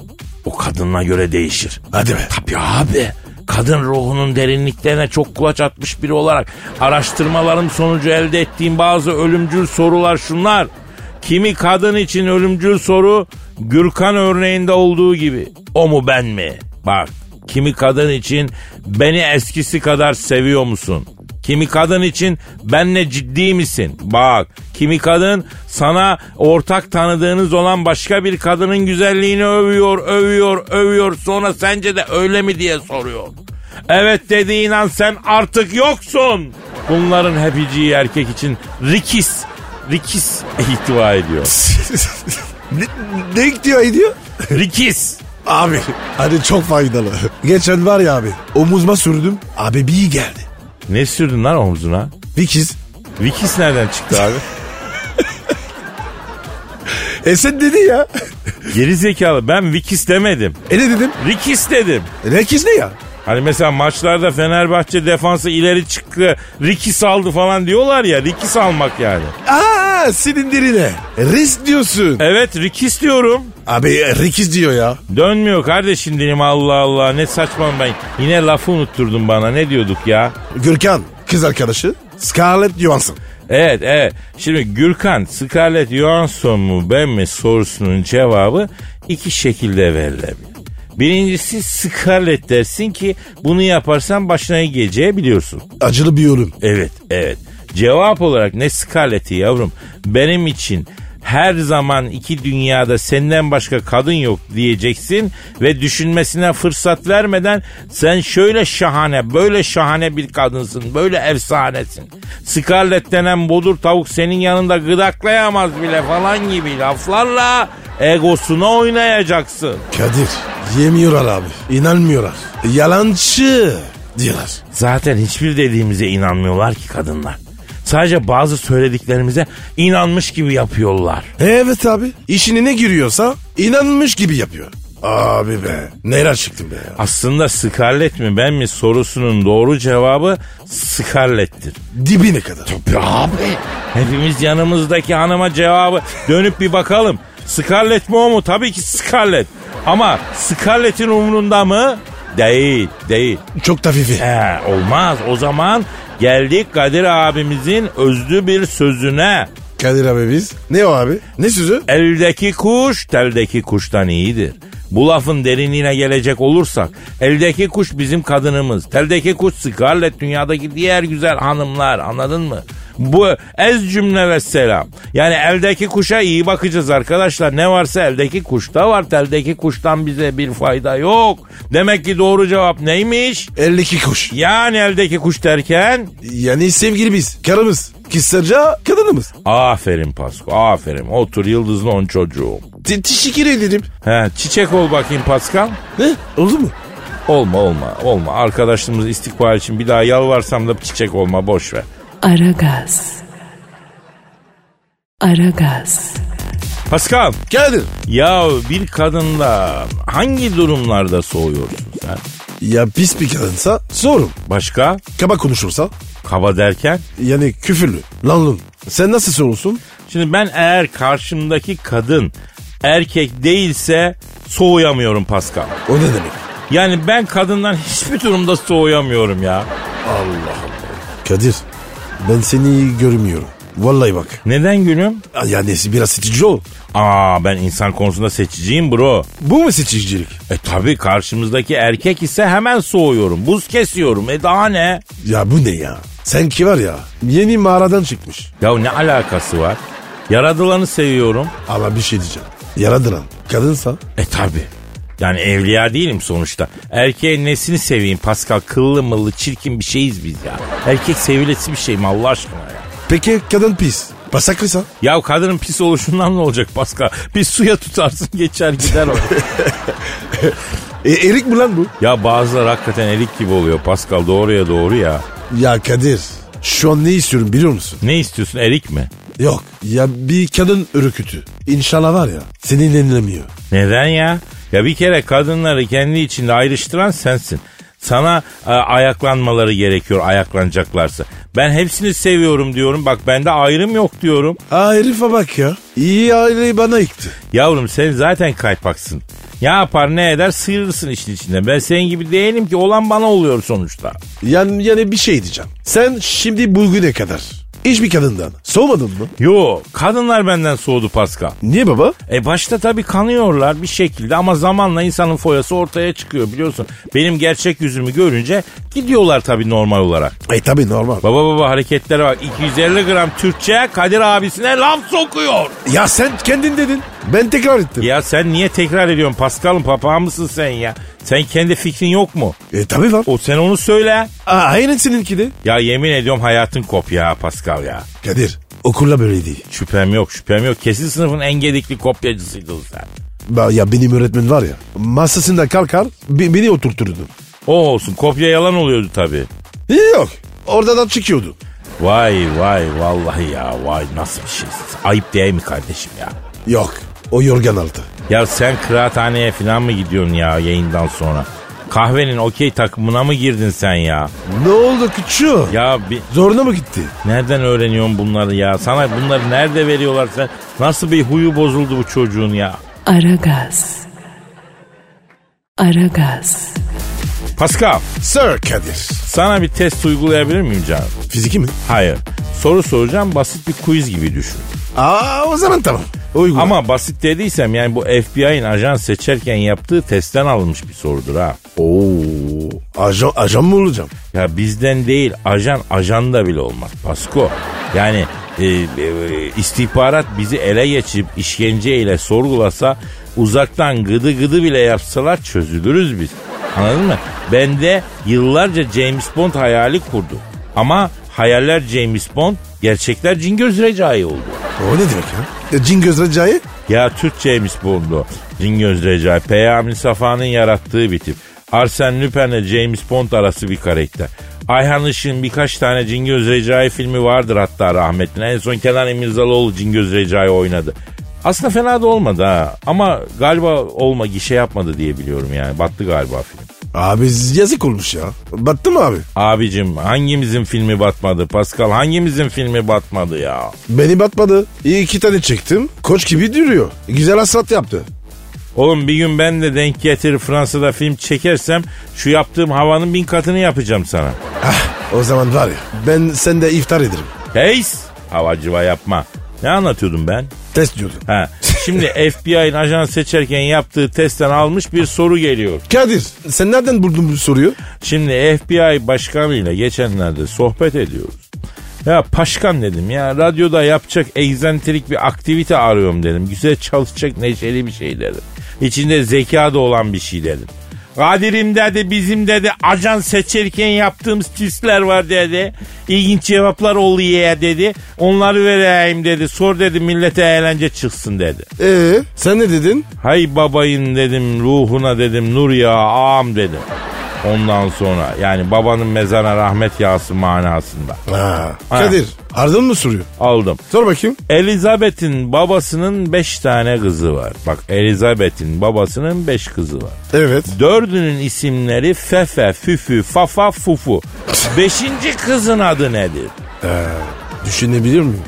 [SPEAKER 2] O kadınla göre değişir.
[SPEAKER 3] Hadi be.
[SPEAKER 2] Tabii abi. Kadın ruhunun derinliklerine çok kulaç atmış biri olarak araştırmalarım sonucu elde ettiğim bazı ölümcül sorular şunlar. Kimi kadın için ölümcül soru Gürkan örneğinde olduğu gibi. O mu ben mi? Bak kimi kadın için beni eskisi kadar seviyor musun? Kimi kadın için benle ciddi misin? Bak kimi kadın sana ortak tanıdığınız olan başka bir kadının güzelliğini övüyor, övüyor, övüyor. Sonra sence de öyle mi diye soruyor. Evet dediğin an sen artık yoksun. Bunların hepiciği erkek için rikis, rikis ihtiva ediyor.
[SPEAKER 3] ne, ne gidiyor ediyor?
[SPEAKER 2] Rikis.
[SPEAKER 3] Abi hani çok faydalı. Geçen var ya abi omuzma sürdüm. Abi bir iyi geldi.
[SPEAKER 2] Ne sürdün lan omzuna?
[SPEAKER 3] Vikiz.
[SPEAKER 2] Rikis nereden çıktı abi?
[SPEAKER 3] E sen dedi ya.
[SPEAKER 2] Geri zekalı ben vikis demedim.
[SPEAKER 3] E ne dedim?
[SPEAKER 2] Rikis dedim.
[SPEAKER 3] E, Vikiz ne ya?
[SPEAKER 2] Hani mesela maçlarda Fenerbahçe defansı ileri çıktı, Riki saldı falan diyorlar ya. Riki salmak yani.
[SPEAKER 3] Aa senin derine. Risk diyorsun.
[SPEAKER 2] Evet Rikis diyorum.
[SPEAKER 3] Abi e, Rikiz diyor ya.
[SPEAKER 2] Dönmüyor kardeşim dilim Allah Allah ne saçma ben. Yine lafı unutturdun bana ne diyorduk ya.
[SPEAKER 3] Gürkan kız arkadaşı Scarlett Johansson.
[SPEAKER 2] Evet evet. Şimdi Gürkan Scarlett Johansson mu ben mi sorusunun cevabı iki şekilde verilebilir. Birincisi Scarlett dersin ki bunu yaparsan başına geleceği biliyorsun.
[SPEAKER 3] Acılı bir ölüm.
[SPEAKER 2] Evet, evet. Cevap olarak ne Scarlett'i yavrum? Benim için her zaman iki dünyada senden başka kadın yok diyeceksin ve düşünmesine fırsat vermeden sen şöyle şahane, böyle şahane bir kadınsın, böyle efsanesin. Scarlett denen bodur tavuk senin yanında gıdaklayamaz bile falan gibi laflarla egosuna oynayacaksın.
[SPEAKER 3] Kadir yemiyorlar abi. İnanmıyorlar. Yalancı diyorlar.
[SPEAKER 2] Zaten hiçbir dediğimize inanmıyorlar ki kadınlar. Sadece bazı söylediklerimize inanmış gibi yapıyorlar.
[SPEAKER 3] Evet abi. İşine ne giriyorsa inanmış gibi yapıyor. Abi be. Neler çıktın be ya.
[SPEAKER 2] Aslında Scarlett mi ben mi sorusunun doğru cevabı Scarlett'tir.
[SPEAKER 3] Dibine kadar.
[SPEAKER 2] abi. Hepimiz yanımızdaki hanıma cevabı dönüp bir bakalım. Scarlett mi o mu? Tabii ki Scarlett. Ama Scarlett'in umrunda mı? Değil, değil.
[SPEAKER 3] Çok tafifi.
[SPEAKER 2] He, olmaz. O zaman geldik Kadir abimizin özlü bir sözüne.
[SPEAKER 3] Kadir abi biz. Ne o abi? Ne sözü?
[SPEAKER 2] Eldeki kuş teldeki kuştan iyidir. Bu lafın derinliğine gelecek olursak eldeki kuş bizim kadınımız. Teldeki kuş Scarlett dünyadaki diğer güzel hanımlar anladın mı? Bu ez cümle ve selam. Yani eldeki kuşa iyi bakacağız arkadaşlar. Ne varsa eldeki kuşta var. Teldeki kuştan bize bir fayda yok. Demek ki doğru cevap neymiş?
[SPEAKER 3] 52 kuş.
[SPEAKER 2] Yani eldeki kuş derken
[SPEAKER 3] Yani sevgilimiz, karımız, kısaca kadınımız.
[SPEAKER 2] aferin Pasko aferin otur yıldızlı on çocuğum.
[SPEAKER 3] Te- teşekkür ederim.
[SPEAKER 2] He, çiçek ol bakayım Pascal.
[SPEAKER 3] Ne? Oldu mu?
[SPEAKER 2] Olma olma olma. Arkadaşlığımız istikbal için bir daha yalvarsam da çiçek olma boş ver.
[SPEAKER 1] Aragaz. Aragaz.
[SPEAKER 2] Pascal.
[SPEAKER 3] Kadir.
[SPEAKER 2] Ya bir kadınla hangi durumlarda soğuyorsun sen?
[SPEAKER 3] Ya pis bir kadınsa sorum.
[SPEAKER 2] Başka?
[SPEAKER 3] Kaba konuşursa
[SPEAKER 2] Kaba derken?
[SPEAKER 3] yani küfürlü. Lan lan. Sen nasıl sorulsun?
[SPEAKER 2] Şimdi ben eğer karşımdaki kadın erkek değilse soğuyamıyorum Pascal.
[SPEAKER 3] O ne demek?
[SPEAKER 2] Yani ben kadından hiçbir durumda soğuyamıyorum ya.
[SPEAKER 3] Kadir ben seni iyi görmüyorum. Vallahi bak.
[SPEAKER 2] Neden gülüm?
[SPEAKER 3] Yani biraz seçici ol.
[SPEAKER 2] Aa ben insan konusunda seçiciyim bro.
[SPEAKER 3] Bu mu seçicilik?
[SPEAKER 2] E tabi karşımızdaki erkek ise hemen soğuyorum. Buz kesiyorum. E daha ne?
[SPEAKER 3] Ya bu ne ya? Sen ki var ya yeni mağaradan çıkmış.
[SPEAKER 2] Ya ne alakası var? Yaradılanı seviyorum.
[SPEAKER 3] Ama bir şey diyeceğim. Yaradıran kadınsa
[SPEAKER 2] E tabi. Yani evliya değilim sonuçta. Erkeğin nesini seveyim Pascal? Kıllı mıllı çirkin bir şeyiz biz ya. Erkek sevilesi bir şey mi Allah aşkına ya?
[SPEAKER 3] peki kadın pis. Pasaklıysa
[SPEAKER 2] Ya kadının pis oluşundan ne olacak Pascal? Bir suya tutarsın geçer gider o.
[SPEAKER 3] e, erik mi lan bu?
[SPEAKER 2] ya bazıları hakikaten erik gibi oluyor Pascal doğruya doğru ya.
[SPEAKER 3] Ya Kadir şu an ne istiyorum biliyor musun?
[SPEAKER 2] Ne istiyorsun erik mi?
[SPEAKER 3] Yok ya bir kadın ürkütü. İnşallah var ya senin enlemiyor.
[SPEAKER 2] Neden ya? Ya bir kere kadınları kendi içinde ayrıştıran sensin. Sana e, ayaklanmaları gerekiyor ayaklanacaklarsa. Ben hepsini seviyorum diyorum. Bak bende ayrım yok diyorum.
[SPEAKER 3] Aa herife bak ya. İyi aileyi bana yıktı.
[SPEAKER 2] Yavrum sen zaten kaypaksın. Ne yapar ne eder sıyırırsın işin içinde. Ben senin gibi değilim ki olan bana oluyor sonuçta.
[SPEAKER 3] Yani, yani bir şey diyeceğim. Sen şimdi bugüne kadar hiçbir kadından soğumadın mı?
[SPEAKER 2] Yo kadınlar benden soğudu Pascal.
[SPEAKER 3] Niye baba?
[SPEAKER 2] E başta tabii kanıyorlar bir şekilde ama zamanla insanın foyası ortaya çıkıyor biliyorsun. Benim gerçek yüzümü görünce gidiyorlar tabii normal olarak.
[SPEAKER 3] E tabi normal.
[SPEAKER 2] Baba baba hareketlere bak 250 gram Türkçe Kadir abisine laf sokuyor.
[SPEAKER 3] Ya sen kendin dedin. Ben tekrar ettim.
[SPEAKER 2] Ya sen niye tekrar ediyorsun Pascal'ım papağı mısın sen ya? Sen kendi fikrin yok mu?
[SPEAKER 3] E tabi var.
[SPEAKER 2] O sen onu söyle.
[SPEAKER 3] Aa, aynen seninki de.
[SPEAKER 2] Ya yemin ediyorum hayatın kop ya Pascal ya.
[SPEAKER 3] Kadir okulla böyle değil.
[SPEAKER 2] Şüphem yok şüphem yok. Kesin sınıfın en gedikli kopyacısıydın sen.
[SPEAKER 3] Ba- Ya benim öğretmen var ya masasında kalkar be- beni oturturdu.
[SPEAKER 2] O olsun kopya yalan oluyordu tabii.
[SPEAKER 3] E, Yok oradan çıkıyordu.
[SPEAKER 2] Vay vay vallahi ya vay nasıl bir şeysin. Ayıp değil mi kardeşim ya?
[SPEAKER 3] Yok o yorgan altı.
[SPEAKER 2] Ya sen kıraathaneye falan mı gidiyorsun ya yayından sonra? Kahvenin okey takımına mı girdin sen ya?
[SPEAKER 3] Ne oldu küçüğü?
[SPEAKER 2] Ya bir,
[SPEAKER 3] Zoruna mı gitti?
[SPEAKER 2] nereden öğreniyorsun bunları ya? Sana bunları nerede veriyorlar sen? Nasıl bir huyu bozuldu bu çocuğun ya?
[SPEAKER 1] Aragaz. Aragaz.
[SPEAKER 2] Pascal
[SPEAKER 3] Sir Kadir.
[SPEAKER 2] sana bir test uygulayabilir miyim canım?
[SPEAKER 3] Fiziki mi?
[SPEAKER 2] Hayır. Soru soracağım basit bir quiz gibi düşün.
[SPEAKER 3] Aa o zaman tamam. Uygun.
[SPEAKER 2] Ama basit dediysem yani bu FBI'nin ajan seçerken yaptığı testten alınmış bir sorudur ha.
[SPEAKER 3] Oo, ajan, ajan mı olacağım?
[SPEAKER 2] Ya bizden değil ajan ajan da bile olmaz Pasko. Yani e, e, istihbarat bizi ele geçirip işkenceyle sorgulasa uzaktan gıdı gıdı bile yapsalar çözülürüz biz. Anladın mı? Ben de yıllarca James Bond hayali kurdu. Ama hayaller James Bond, gerçekler Cingöz Recai oldu.
[SPEAKER 3] O ne demek ya? E, Cin Göz Recai?
[SPEAKER 2] Ya Türkçeymiş buldu. Cingöz Recai. Peyami Safa'nın yarattığı bir tip. Arsene Lupin'le James Bond arası bir karakter. Ayhan Işık'ın birkaç tane Cingöz Recai filmi vardır hatta rahmetli. En son Kenan İmirzalıoğlu Cingöz Recai oynadı. Aslında fena da olmadı ha. Ama galiba olma gişe yapmadı diye biliyorum yani. Battı galiba film.
[SPEAKER 3] Abi yazık olmuş ya. Battı mı abi?
[SPEAKER 2] Abicim hangimizin filmi batmadı Pascal? Hangimizin filmi batmadı ya?
[SPEAKER 3] Beni batmadı. İyi iki tane çektim. Koç gibi duruyor. Güzel hasrat yaptı.
[SPEAKER 2] Oğlum bir gün ben de denk getir Fransa'da film çekersem şu yaptığım havanın bin katını yapacağım sana.
[SPEAKER 3] Ah, o zaman var ya ben sen de iftar ederim.
[SPEAKER 2] Heys! Havacıva yapma. Ne anlatıyordum ben?
[SPEAKER 3] Test diyordum.
[SPEAKER 2] Ha. Şimdi FBI'nin ajan seçerken yaptığı testten almış bir soru geliyor.
[SPEAKER 3] Kadir sen nereden buldun bu soruyu?
[SPEAKER 2] Şimdi FBI başkanıyla geçenlerde sohbet ediyoruz. Ya paşkan dedim ya radyoda yapacak egzantrik bir aktivite arıyorum dedim. Güzel çalışacak neşeli bir şey dedim. İçinde zeka da olan bir şey dedim. Kadir'im dedi bizim dedi ajan seçerken yaptığımız tüsler var dedi. İlginç cevaplar oluyor dedi. Onları vereyim dedi. Sor dedi millete eğlence çıksın dedi.
[SPEAKER 3] Ee, sen ne dedin?
[SPEAKER 2] Hay babayın dedim ruhuna dedim nur ya ağam dedim. Ondan sonra yani babanın mezarına rahmet yağsın manasında
[SPEAKER 3] Ha. Kadir ardın mı soruyor?
[SPEAKER 2] aldım.
[SPEAKER 3] Sor bakayım.
[SPEAKER 2] Elizabeth'in babasının beş tane kızı var. Bak Elizabeth'in babasının beş kızı var.
[SPEAKER 3] Evet.
[SPEAKER 2] Dördünün isimleri Fefe, Füfü, Fafa, Fufu. Beşinci kızın adı nedir?
[SPEAKER 3] Düşünebilir miyim?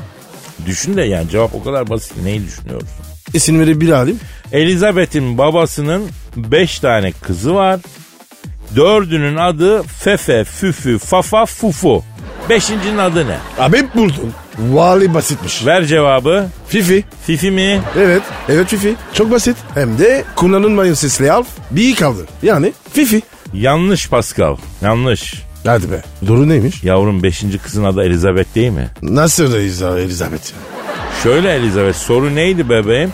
[SPEAKER 2] Düşün de yani cevap o kadar basit. ki Neyi düşünüyorsun?
[SPEAKER 3] İsimleri bir alayım.
[SPEAKER 2] Elizabeth'in babasının beş tane kızı var. Dördünün adı Fefe, Füfü, Fafa, Fufu. Beşincinin adı ne?
[SPEAKER 3] Abi buldun. Vali basitmiş.
[SPEAKER 2] Ver cevabı.
[SPEAKER 3] Fifi.
[SPEAKER 2] Fifi mi?
[SPEAKER 3] Evet. Evet Fifi. Çok basit. Hem de kullanılmayan sesli harf bir kaldı. Yani Fifi.
[SPEAKER 2] Yanlış Pascal. Yanlış.
[SPEAKER 3] Hadi be. Doğru neymiş?
[SPEAKER 2] Yavrum beşinci kızın adı Elizabeth değil mi?
[SPEAKER 3] Nasıl reis abi, Elizabeth? ya?
[SPEAKER 2] Şöyle Elizabeth soru neydi bebeğim?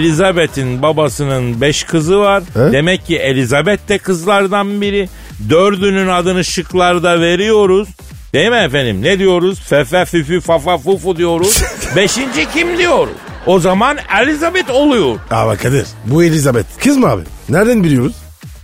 [SPEAKER 2] Elizabeth'in babasının beş kızı var.
[SPEAKER 3] He?
[SPEAKER 2] Demek ki Elizabeth de kızlardan biri. Dördünün adını şıklarda veriyoruz. Değil mi efendim? Ne diyoruz? Fefe füfü fafa fufu diyoruz. Beşinci kim diyoruz? O zaman Elizabeth oluyor.
[SPEAKER 3] Ama Kadir bu Elizabeth. Kız mı abi? Nereden biliyoruz?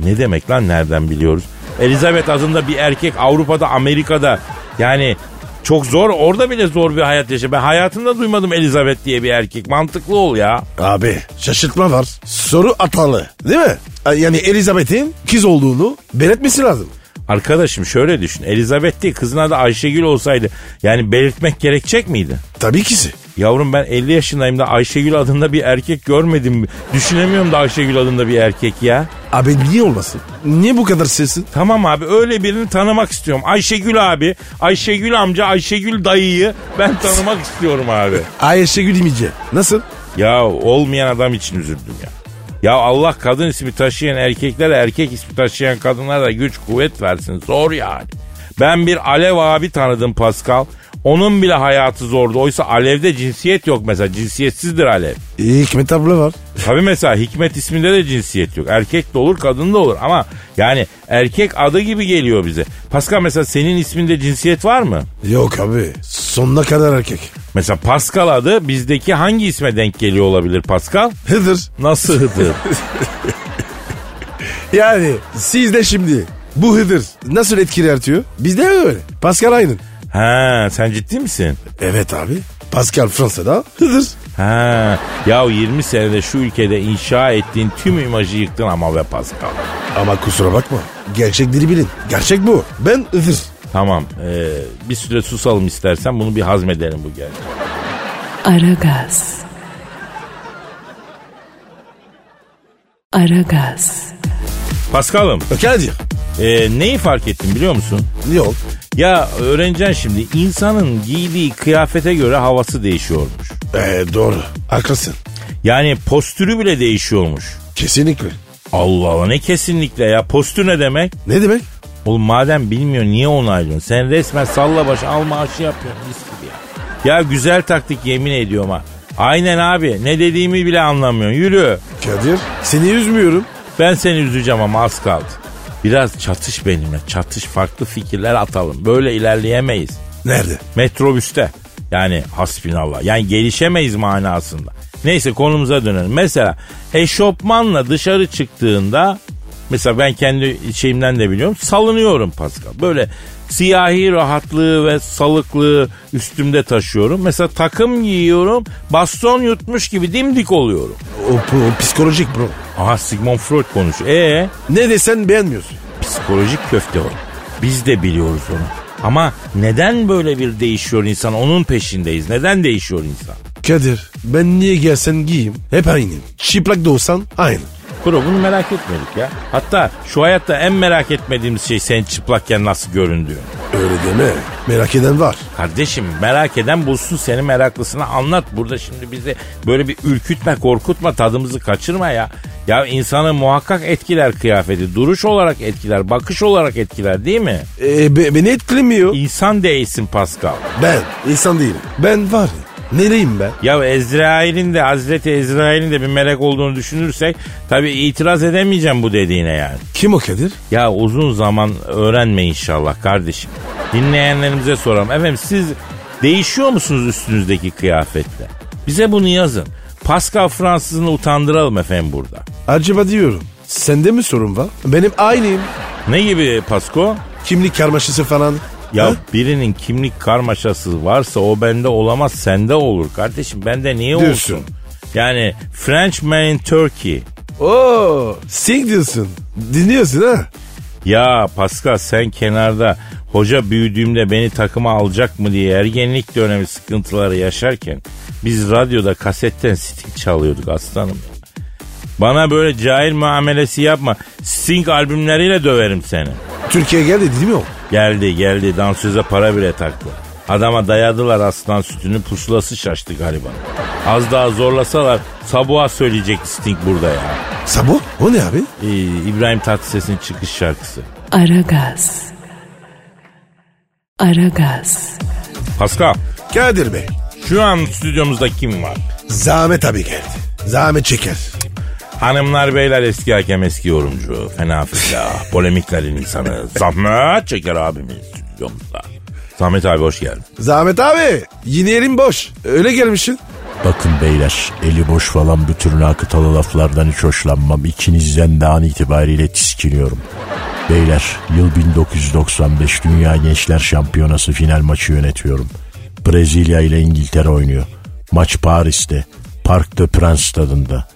[SPEAKER 2] Ne demek lan nereden biliyoruz? Elizabeth adında bir erkek Avrupa'da Amerika'da yani çok zor orada bile zor bir hayat yaşa. Ben hayatımda duymadım Elizabeth diye bir erkek. Mantıklı ol ya.
[SPEAKER 3] Abi şaşırtma var. Soru atalı değil mi? Yani Elizabeth'in kız olduğunu belirtmesi lazım.
[SPEAKER 2] Arkadaşım şöyle düşün. Elizabeth değil kızın adı Ayşegül olsaydı yani belirtmek gerekecek miydi?
[SPEAKER 3] Tabii kisi.
[SPEAKER 2] Yavrum ben 50 yaşındayım da Ayşegül adında bir erkek görmedim. Düşünemiyorum da Ayşegül adında bir erkek ya.
[SPEAKER 3] Abi niye olmasın? Niye bu kadar sesin?
[SPEAKER 2] Tamam abi öyle birini tanımak istiyorum. Ayşegül abi, Ayşegül amca, Ayşegül dayıyı ben tanımak istiyorum abi.
[SPEAKER 3] Ayşegül İmice. Nasıl?
[SPEAKER 2] Ya olmayan adam için üzüldüm ya. Ya Allah kadın ismi taşıyan erkeklere, erkek ismi taşıyan kadınlara da güç kuvvet versin. Zor yani. Ben bir Alev abi tanıdım Pascal. Onun bile hayatı zordu. Oysa Alev'de cinsiyet yok mesela. Cinsiyetsizdir Alev.
[SPEAKER 3] İyi Hikmet abla var.
[SPEAKER 2] Tabii mesela Hikmet isminde de cinsiyet yok. Erkek de olur, kadın da olur. Ama yani erkek adı gibi geliyor bize. Pascal mesela senin isminde cinsiyet var mı?
[SPEAKER 3] Yok abi. Sonuna kadar erkek.
[SPEAKER 2] Mesela Pascal adı bizdeki hangi isme denk geliyor olabilir Pascal?
[SPEAKER 3] Hıdır.
[SPEAKER 2] Nasıl hıdır?
[SPEAKER 3] Yani siz de şimdi bu Hıdır nasıl etki yaratıyor? Bizde öyle. Pascal aynı.
[SPEAKER 2] Ha sen ciddi misin?
[SPEAKER 3] Evet abi. Pascal Fransa'da Hıdır.
[SPEAKER 2] Ha ya 20 senede şu ülkede inşa ettiğin tüm imajı yıktın ama be Pascal.
[SPEAKER 3] Ama kusura bakma. Gerçekleri bilin. Gerçek bu. Ben Hıdır.
[SPEAKER 2] Tamam e, bir süre susalım istersen bunu bir hazmedelim bu gerçeği.
[SPEAKER 1] Aragaz. Aragaz.
[SPEAKER 2] Pascal'ım
[SPEAKER 3] Kadir.
[SPEAKER 2] e, neyi fark ettim biliyor musun?
[SPEAKER 3] Yok.
[SPEAKER 2] Ya öğreneceksin şimdi insanın giydiği kıyafete göre havası değişiyormuş.
[SPEAKER 3] Ee, doğru. Haklısın.
[SPEAKER 2] Yani postürü bile değişiyormuş.
[SPEAKER 3] Kesinlikle.
[SPEAKER 2] Allah Allah ne kesinlikle ya postür ne demek?
[SPEAKER 3] Ne demek?
[SPEAKER 2] Oğlum madem bilmiyor niye onaylıyorsun? Sen resmen salla baş al maaşı yapıyorsun mis gibi ya. Ya güzel taktik yemin ediyorum ha. Aynen abi ne dediğimi bile anlamıyorsun yürü.
[SPEAKER 3] Kadir. Seni üzmüyorum.
[SPEAKER 2] Ben seni üzeceğim ama az kaldı. Biraz çatış benimle çatış farklı fikirler atalım. Böyle ilerleyemeyiz.
[SPEAKER 3] Nerede?
[SPEAKER 2] Metrobüste yani hasbinallah yani gelişemeyiz manasında. Neyse konumuza dönelim. Mesela eşofmanla dışarı çıktığında mesela ben kendi şeyimden de biliyorum salınıyorum Pascal. Böyle siyahi rahatlığı ve salıklığı üstümde taşıyorum. Mesela takım giyiyorum baston yutmuş gibi dimdik oluyorum.
[SPEAKER 3] O, o psikolojik bro.
[SPEAKER 2] Aha Sigmund Freud konuşuyor. E
[SPEAKER 3] Ne desen beğenmiyorsun.
[SPEAKER 2] psikolojik köfte o. Biz de biliyoruz onu. Ama neden böyle bir değişiyor insan? Onun peşindeyiz. Neden değişiyor insan?
[SPEAKER 3] Kadir ben niye gelsen giyeyim hep aynıyım. Çıplak da olsan aynı.
[SPEAKER 2] Kuro bunu merak etmedik ya. Hatta şu hayatta en merak etmediğimiz şey senin çıplakken nasıl göründüğün.
[SPEAKER 3] Öyle deme merak eden var.
[SPEAKER 2] Kardeşim merak eden bulsun seni meraklısına anlat. Burada şimdi bizi böyle bir ürkütme korkutma tadımızı kaçırma ya. Ya insanı muhakkak etkiler kıyafeti. Duruş olarak etkiler, bakış olarak etkiler değil mi?
[SPEAKER 3] E, be- Ee, beni etkilemiyor.
[SPEAKER 2] İnsan değilsin Pascal.
[SPEAKER 3] Ben insan değilim. Ben var ya Nereyim be?
[SPEAKER 2] Ya Ezrail'in de Hazreti Ezrail'in de bir melek olduğunu düşünürsek tabii itiraz edemeyeceğim bu dediğine yani.
[SPEAKER 3] Kim o Kadir?
[SPEAKER 2] Ya uzun zaman öğrenme inşallah kardeşim. Dinleyenlerimize soralım. Efendim siz değişiyor musunuz üstünüzdeki kıyafetle? Bize bunu yazın. Pascal Fransız'ını utandıralım efendim burada.
[SPEAKER 3] Acaba diyorum. Sende mi sorun var? Benim aynıyım.
[SPEAKER 2] Ne gibi Pasko?
[SPEAKER 3] Kimlik karmaşası falan.
[SPEAKER 2] Ya
[SPEAKER 3] Ha?
[SPEAKER 2] birinin kimlik karmaşası varsa o bende olamaz sende olur kardeşim. Bende niye
[SPEAKER 3] Diyorsun.
[SPEAKER 2] olsun? Yani Frenchman in Turkey.
[SPEAKER 3] Oo, sing diyorsun. Dinliyorsun ha?
[SPEAKER 2] Ya Pascal sen kenarda hoca büyüdüğümde beni takıma alacak mı diye ergenlik dönemi sıkıntıları yaşarken biz radyoda kasetten sting çalıyorduk aslanım. Bana böyle cahil muamelesi yapma. Sting albümleriyle döverim seni.
[SPEAKER 3] Türkiye'ye geldi değil mi o?
[SPEAKER 2] Geldi geldi dansöze para bile taktı. Adama dayadılar aslan sütünü pusulası şaştı gariban. Az daha zorlasalar sabuha söyleyecek Sting burada ya.
[SPEAKER 3] Sabo? O ne abi?
[SPEAKER 2] Ee, İbrahim Tatlıses'in çıkış şarkısı.
[SPEAKER 1] Aragaz. Aragaz.
[SPEAKER 2] Pascal
[SPEAKER 3] Kadir Bey.
[SPEAKER 2] şu an stüdyomuzda kim var?
[SPEAKER 3] Zahmet abi geldi. Zahmet çeker.
[SPEAKER 2] Hanımlar beyler eski hakem eski yorumcu. Fena fillah. Polemiklerin insanı. Zahmet Çeker abimiz stüdyomuzda. Zahmet abi hoş geldin.
[SPEAKER 3] Zahmet abi yine elim boş. Öyle gelmişsin.
[SPEAKER 4] Bakın beyler eli boş falan bu tür nakıtalı laflardan hiç hoşlanmam. İkinizden de an itibariyle tiskiniyorum. Beyler yıl 1995 Dünya Gençler Şampiyonası final maçı yönetiyorum. Brezilya ile İngiltere oynuyor. Maç Paris'te. Park de Prince stadında.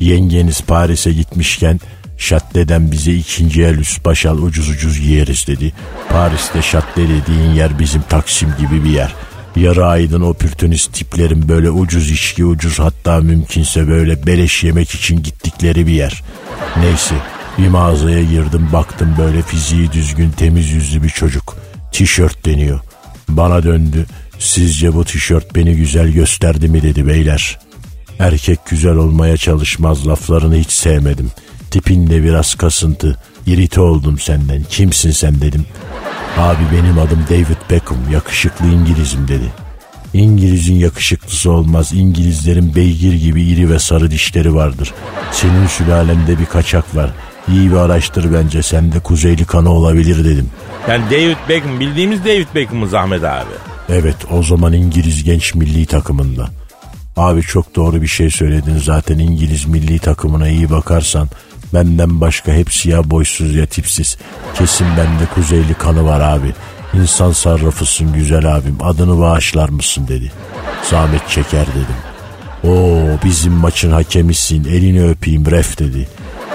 [SPEAKER 4] Yengeniz Paris'e gitmişken Şatle'den bize ikinci el üst başal ucuz ucuz yeriz dedi. Paris'te Şatle dediğin yer bizim Taksim gibi bir yer. Yarı aydın opürtünist tiplerin böyle ucuz içki ucuz hatta mümkünse böyle beleş yemek için gittikleri bir yer. Neyse bir mağazaya girdim baktım böyle fiziği düzgün temiz yüzlü bir çocuk. Tişört deniyor. Bana döndü. Sizce bu tişört beni güzel gösterdi mi dedi beyler. Erkek güzel olmaya çalışmaz laflarını hiç sevmedim. Tipin de biraz kasıntı. İrite oldum senden. Kimsin sen dedim. Abi benim adım David Beckham. Yakışıklı İngilizim dedi. İngiliz'in yakışıklısı olmaz. İngilizlerin beygir gibi iri ve sarı dişleri vardır. Senin sülalende bir kaçak var. İyi bir araştır bence. Sende kuzeyli kanı olabilir dedim.
[SPEAKER 2] Yani David Beckham bildiğimiz David Beckham'ı Zahmet abi.
[SPEAKER 4] Evet o zaman İngiliz genç milli takımında. Abi çok doğru bir şey söyledin zaten İngiliz milli takımına iyi bakarsan benden başka hepsi ya boysuz ya tipsiz. Kesin bende kuzeyli kanı var abi. İnsan sarrafısın güzel abim adını bağışlar mısın dedi. Zahmet çeker dedim. Oo bizim maçın hakemisin elini öpeyim ref dedi.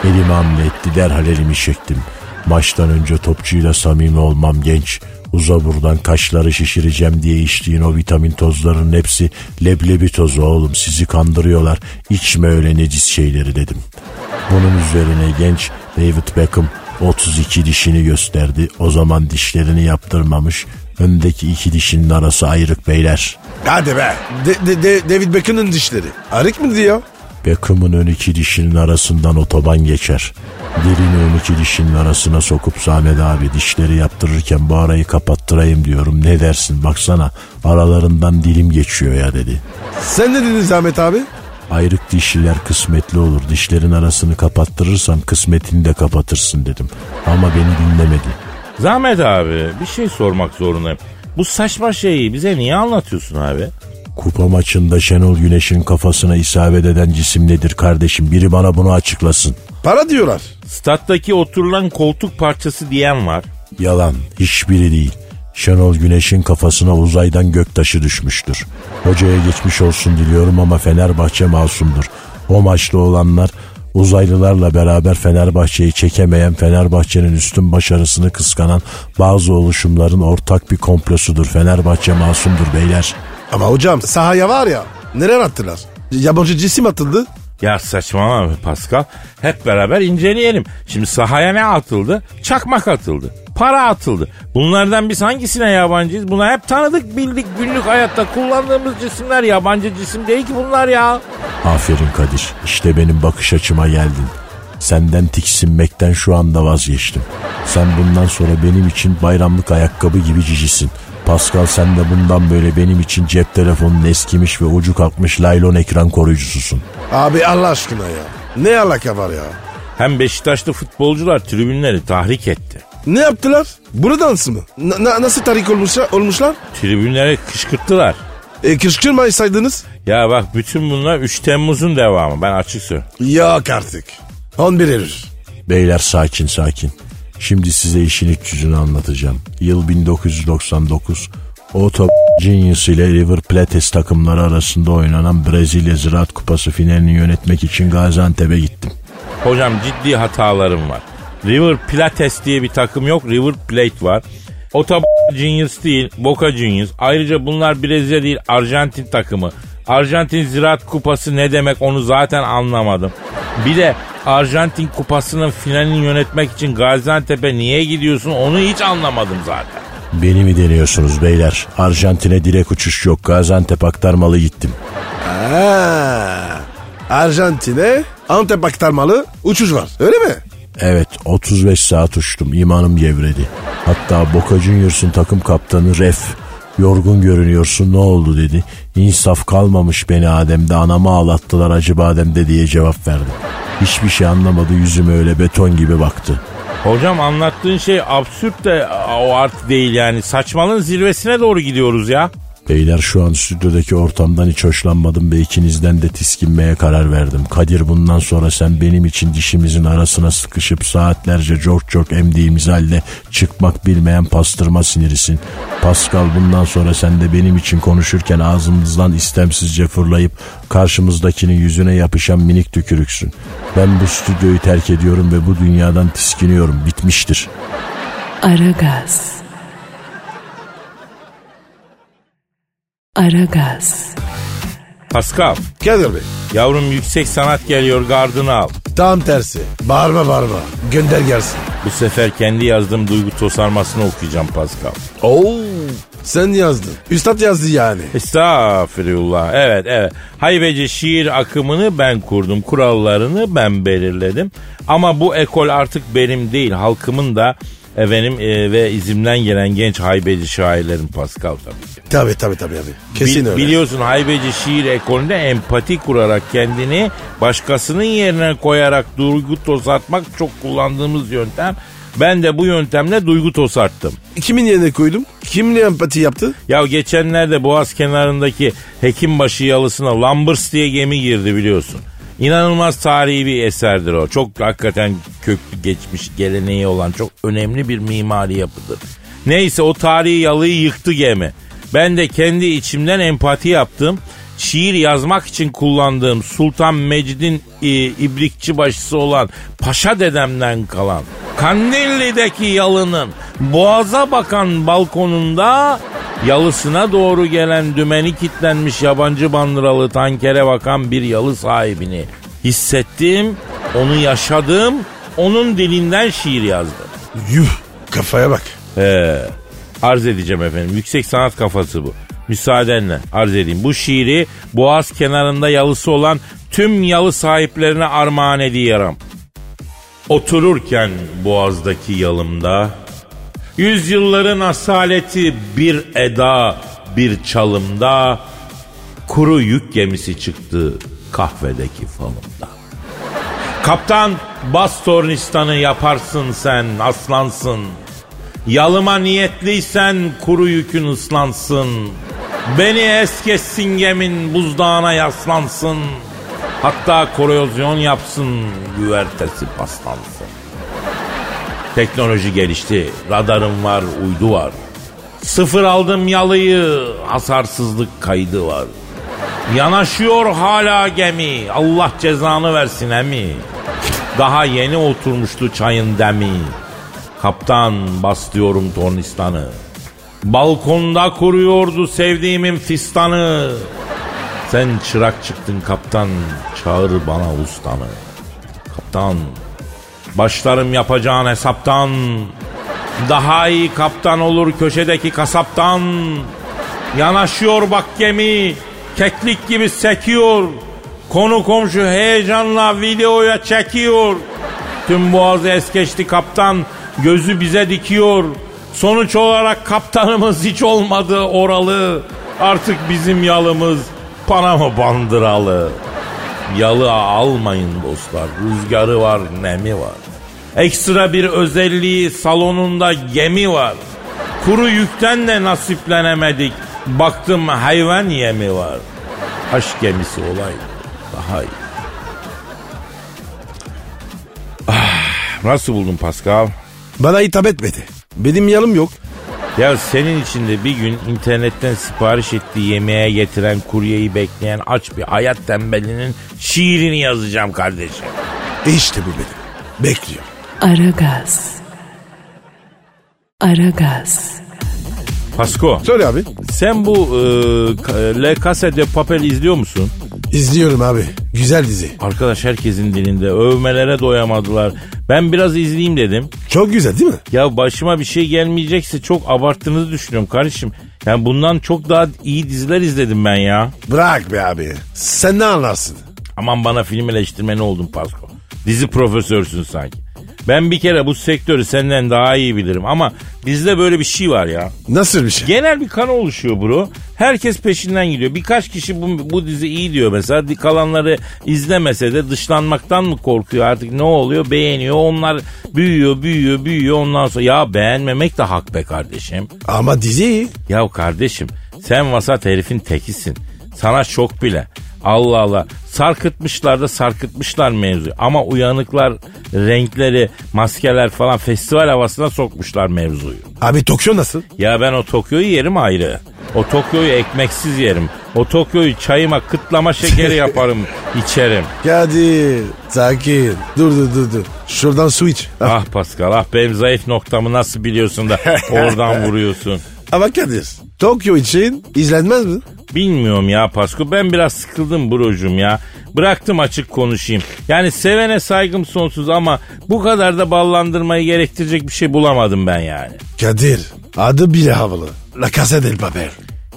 [SPEAKER 4] Elimi hamle etti derhal elimi çektim. Maçtan önce topçuyla samimi olmam genç. Uza buradan kaşları şişireceğim diye içtiğin o vitamin tozlarının hepsi leblebi tozu oğlum sizi kandırıyorlar. İçme öyle necis şeyleri dedim. Bunun üzerine genç David Beckham 32 dişini gösterdi. O zaman dişlerini yaptırmamış. Öndeki iki dişinin arası ayrık beyler.
[SPEAKER 3] Hadi be. De, de- de- David Beckham'ın dişleri. Arık mı diyor?
[SPEAKER 4] Beckham'ın ön iki dişinin arasından otoban geçer. Dilini ön iki dişinin arasına sokup Zahmet abi dişleri yaptırırken bu arayı kapattırayım diyorum. Ne dersin baksana aralarından dilim geçiyor ya dedi.
[SPEAKER 3] Sen ne dedin Zahmet abi?
[SPEAKER 4] Ayrık dişliler kısmetli olur. Dişlerin arasını kapattırırsam kısmetini de kapatırsın dedim. Ama beni dinlemedi.
[SPEAKER 2] Zahmet abi bir şey sormak zorundayım. Bu saçma şeyi bize niye anlatıyorsun abi?
[SPEAKER 4] Kupa maçında Şenol Güneş'in kafasına isabet eden cisim nedir kardeşim? Biri bana bunu açıklasın.
[SPEAKER 3] Para diyorlar.
[SPEAKER 2] Stat'taki oturulan koltuk parçası diyen var.
[SPEAKER 4] Yalan, hiçbiri değil. Şenol Güneş'in kafasına uzaydan göktaşı düşmüştür. Hocaya geçmiş olsun diliyorum ama Fenerbahçe masumdur. O maçta olanlar uzaylılarla beraber Fenerbahçe'yi çekemeyen Fenerbahçe'nin üstün başarısını kıskanan bazı oluşumların ortak bir komplosudur. Fenerbahçe masumdur beyler.
[SPEAKER 3] Ama hocam sahaya var ya neler attılar? Yabancı cisim atıldı.
[SPEAKER 2] Ya saçmalama be Pascal. Hep beraber inceleyelim. Şimdi sahaya ne atıldı? Çakmak atıldı. Para atıldı. Bunlardan biz hangisine yabancıyız? Bunlar hep tanıdık, bildik, günlük hayatta kullandığımız cisimler. Yabancı cisim değil ki bunlar ya.
[SPEAKER 4] Aferin Kadir. İşte benim bakış açıma geldin. Senden tiksinmekten şu anda vazgeçtim. Sen bundan sonra benim için bayramlık ayakkabı gibi cicisin. Pascal sen de bundan böyle benim için cep telefonunun eskimiş ve ucu kalkmış laylon ekran koruyucususun.
[SPEAKER 3] Abi Allah aşkına ya. Ne alaka var ya?
[SPEAKER 2] Hem Beşiktaşlı futbolcular tribünleri tahrik etti.
[SPEAKER 3] Ne yaptılar? Buradansı mı? Na- na- nasıl tarik olmuşlar? olmuşlar?
[SPEAKER 2] Tribünlere kışkırttılar.
[SPEAKER 3] E, kışkırmayı saydınız.
[SPEAKER 2] Ya bak bütün bunlar 3 Temmuz'un devamı ben açık söylüyorum.
[SPEAKER 3] Yok artık. 11 Eylül.
[SPEAKER 4] Beyler sakin sakin. Şimdi size işin iç yüzünü anlatacağım. Yıl 1999. Otto Genius ile River Plates takımları arasında oynanan Brezilya Ziraat Kupası finalini yönetmek için Gaziantep'e gittim.
[SPEAKER 2] Hocam ciddi hatalarım var. River Plates diye bir takım yok. River Plate var. Ota Juniors değil. Boca Juniors. Ayrıca bunlar Brezilya değil. Arjantin takımı. Arjantin Ziraat Kupası ne demek onu zaten anlamadım. Bir de Arjantin Kupası'nın finalini yönetmek için Gaziantep'e niye gidiyorsun onu hiç anlamadım zaten.
[SPEAKER 4] Beni mi deniyorsunuz beyler? Arjantin'e direkt uçuş yok. Gaziantep aktarmalı gittim.
[SPEAKER 3] Ha. Arjantin'e Antep aktarmalı uçuş var. Öyle mi?
[SPEAKER 4] Evet 35 saat uçtum imanım gevredi. Hatta Boca Juniors'un takım kaptanı Ref yorgun görünüyorsun ne oldu dedi. İnsaf kalmamış beni Adem'de anamı ağlattılar acı bademde diye cevap verdim. Hiçbir şey anlamadı yüzüme öyle beton gibi baktı.
[SPEAKER 2] Hocam anlattığın şey absürt de o artık değil yani. Saçmalığın zirvesine doğru gidiyoruz ya.
[SPEAKER 4] Beyler şu an stüdyodaki ortamdan hiç hoşlanmadım ve ikinizden de tiskinmeye karar verdim. Kadir bundan sonra sen benim için dişimizin arasına sıkışıp saatlerce çok çok emdiğimiz halde çıkmak bilmeyen pastırma sinirisin. Pascal bundan sonra sen de benim için konuşurken ağzımızdan istemsizce fırlayıp karşımızdakinin yüzüne yapışan minik tükürüksün. Ben bu stüdyoyu terk ediyorum ve bu dünyadan tiskiniyorum. Bitmiştir.
[SPEAKER 1] Aragaz. Aragaz.
[SPEAKER 2] Pascal.
[SPEAKER 3] Kadir Bey.
[SPEAKER 2] Yavrum yüksek sanat geliyor gardını al.
[SPEAKER 3] Tam tersi. Bağırma bağırma. Gönder gelsin.
[SPEAKER 2] Bu sefer kendi yazdığım duygu tosarmasını okuyacağım Pascal.
[SPEAKER 3] Oo. Sen yazdın. Üstad yazdı yani.
[SPEAKER 2] Estağfirullah. Evet evet. Hayveci şiir akımını ben kurdum. Kurallarını ben belirledim. Ama bu ekol artık benim değil. Halkımın da efendim e, ve izimden gelen genç haybeci şairlerin Pascal tabii ki.
[SPEAKER 3] Tabii tabii tabii abi. Kesin
[SPEAKER 2] Bil-
[SPEAKER 3] öyle.
[SPEAKER 2] Biliyorsun haybeci şiir ekolünde empati kurarak kendini başkasının yerine koyarak duygu tosartmak çok kullandığımız yöntem. Ben de bu yöntemle duygu tosarttım.
[SPEAKER 3] Kimin yerine koydum? Kimle empati yaptı?
[SPEAKER 2] Ya geçenlerde Boğaz kenarındaki Hekimbaşı yalısına Lambers diye gemi girdi biliyorsun. İnanılmaz tarihi bir eserdir o. Çok hakikaten köklü geçmiş geleneği olan çok önemli bir mimari yapıdır. Neyse o tarihi yalıyı yıktı gemi. Ben de kendi içimden empati yaptım. Şiir yazmak için kullandığım Sultan Mecid'in e, ibrikçi başısı olan Paşa dedemden kalan Kandilli'deki yalının boğaza bakan balkonunda yalısına doğru gelen dümeni kitlenmiş yabancı bandıralı tankere bakan bir yalı sahibini hissettim, onu yaşadım, onun dilinden şiir yazdım.
[SPEAKER 3] Yuh. Kafaya bak.
[SPEAKER 2] Ee, arz edeceğim efendim. Yüksek sanat kafası bu. Müsaadenle arz edeyim. Bu şiiri Boğaz kenarında yalısı olan tüm yalı sahiplerine armağan ediyorum. Otururken Boğaz'daki yalımda Yüzyılların asaleti bir eda bir çalımda Kuru yük gemisi çıktı kahvedeki falımda. Kaptan bas tornistanı yaparsın sen aslansın. Yalıma niyetliysen kuru yükün ıslansın. Beni es geçsin gemin buzdağına yaslansın. Hatta korozyon yapsın güvertesi paslansın. Teknoloji gelişti. Radarım var, uydu var. Sıfır aldım yalıyı, hasarsızlık kaydı var. Yanaşıyor hala gemi. Allah cezanı versin emi. Daha yeni oturmuştu çayın demi. Kaptan bastıyorum tornistanı. Balkonda kuruyordu sevdiğimin fistanı. Sen çırak çıktın kaptan. Çağır bana ustanı. Kaptan. Başlarım yapacağın hesaptan. Daha iyi kaptan olur köşedeki kasaptan. Yanaşıyor bak gemi. Keklik gibi sekiyor. Konu komşu heyecanla videoya çekiyor. Tüm boğazı es geçti kaptan. Gözü bize dikiyor. Sonuç olarak kaptanımız hiç olmadı oralı. Artık bizim yalımız Panama bandıralı. Yalı almayın dostlar. Rüzgarı var, nemi var. Ekstra bir özelliği salonunda gemi var. Kuru yükten de nasiplenemedik. Baktım hayvan yemi var. Aşk gemisi olay daha iyi. Ah, nasıl buldun Pascal?
[SPEAKER 3] Bana hitap etmedi. Benim yanım yok.
[SPEAKER 2] Ya senin için de bir gün internetten sipariş ettiği yemeğe getiren kuryeyi bekleyen aç bir hayat tembelinin şiirini yazacağım kardeşim.
[SPEAKER 3] E işte bu benim. Bekliyor.
[SPEAKER 1] Aragaz. Aragaz.
[SPEAKER 2] Pasko
[SPEAKER 3] Söyle abi.
[SPEAKER 2] sen bu e, Le Casa de Papel izliyor musun?
[SPEAKER 3] İzliyorum abi. Güzel dizi.
[SPEAKER 2] Arkadaş herkesin dilinde övmelere doyamadılar. Ben biraz izleyeyim dedim.
[SPEAKER 3] Çok güzel değil mi?
[SPEAKER 2] Ya başıma bir şey gelmeyecekse çok abarttığınızı düşünüyorum kardeşim. Yani bundan çok daha iyi diziler izledim ben ya.
[SPEAKER 3] Bırak be abi. Sen ne anlarsın?
[SPEAKER 2] Aman bana film eleştirmeni oldun Pasko. Dizi profesörsün sanki. Ben bir kere bu sektörü senden daha iyi bilirim ama bizde böyle bir şey var ya.
[SPEAKER 3] Nasıl bir şey?
[SPEAKER 2] Genel bir kan oluşuyor bro. Herkes peşinden gidiyor. Birkaç kişi bu, bu dizi iyi diyor mesela. Di- Kalanları izlemese de dışlanmaktan mı korkuyor artık ne oluyor? Beğeniyor. Onlar büyüyor, büyüyor, büyüyor. Ondan sonra ya beğenmemek de hak be kardeşim.
[SPEAKER 3] Ama dizi iyi.
[SPEAKER 2] Ya kardeşim sen vasat herifin tekisin. Sana şok bile. Allah Allah. Sarkıtmışlar da sarkıtmışlar mevzuyu. Ama uyanıklar renkleri, maskeler falan festival havasına sokmuşlar mevzuyu.
[SPEAKER 3] Abi Tokyo nasıl?
[SPEAKER 2] Ya ben o Tokyo'yu yerim ayrı. O Tokyo'yu ekmeksiz yerim. O Tokyo'yu çayıma kıtlama şekeri yaparım, içerim.
[SPEAKER 3] Kadir. Sakin. Dur dur dur dur. Şuradan su iç.
[SPEAKER 2] Ah Pascal, ah benim zayıf noktamı nasıl biliyorsun da oradan vuruyorsun.
[SPEAKER 3] Ama Kadir. Tokyo için izlenmez mi?
[SPEAKER 2] Bilmiyorum ya Pasko ben biraz sıkıldım brocum ya. Bıraktım açık konuşayım. Yani sevene saygım sonsuz ama bu kadar da ballandırmayı gerektirecek bir şey bulamadım ben yani.
[SPEAKER 3] Kadir. Adı bile havalı. La Casa del Papel.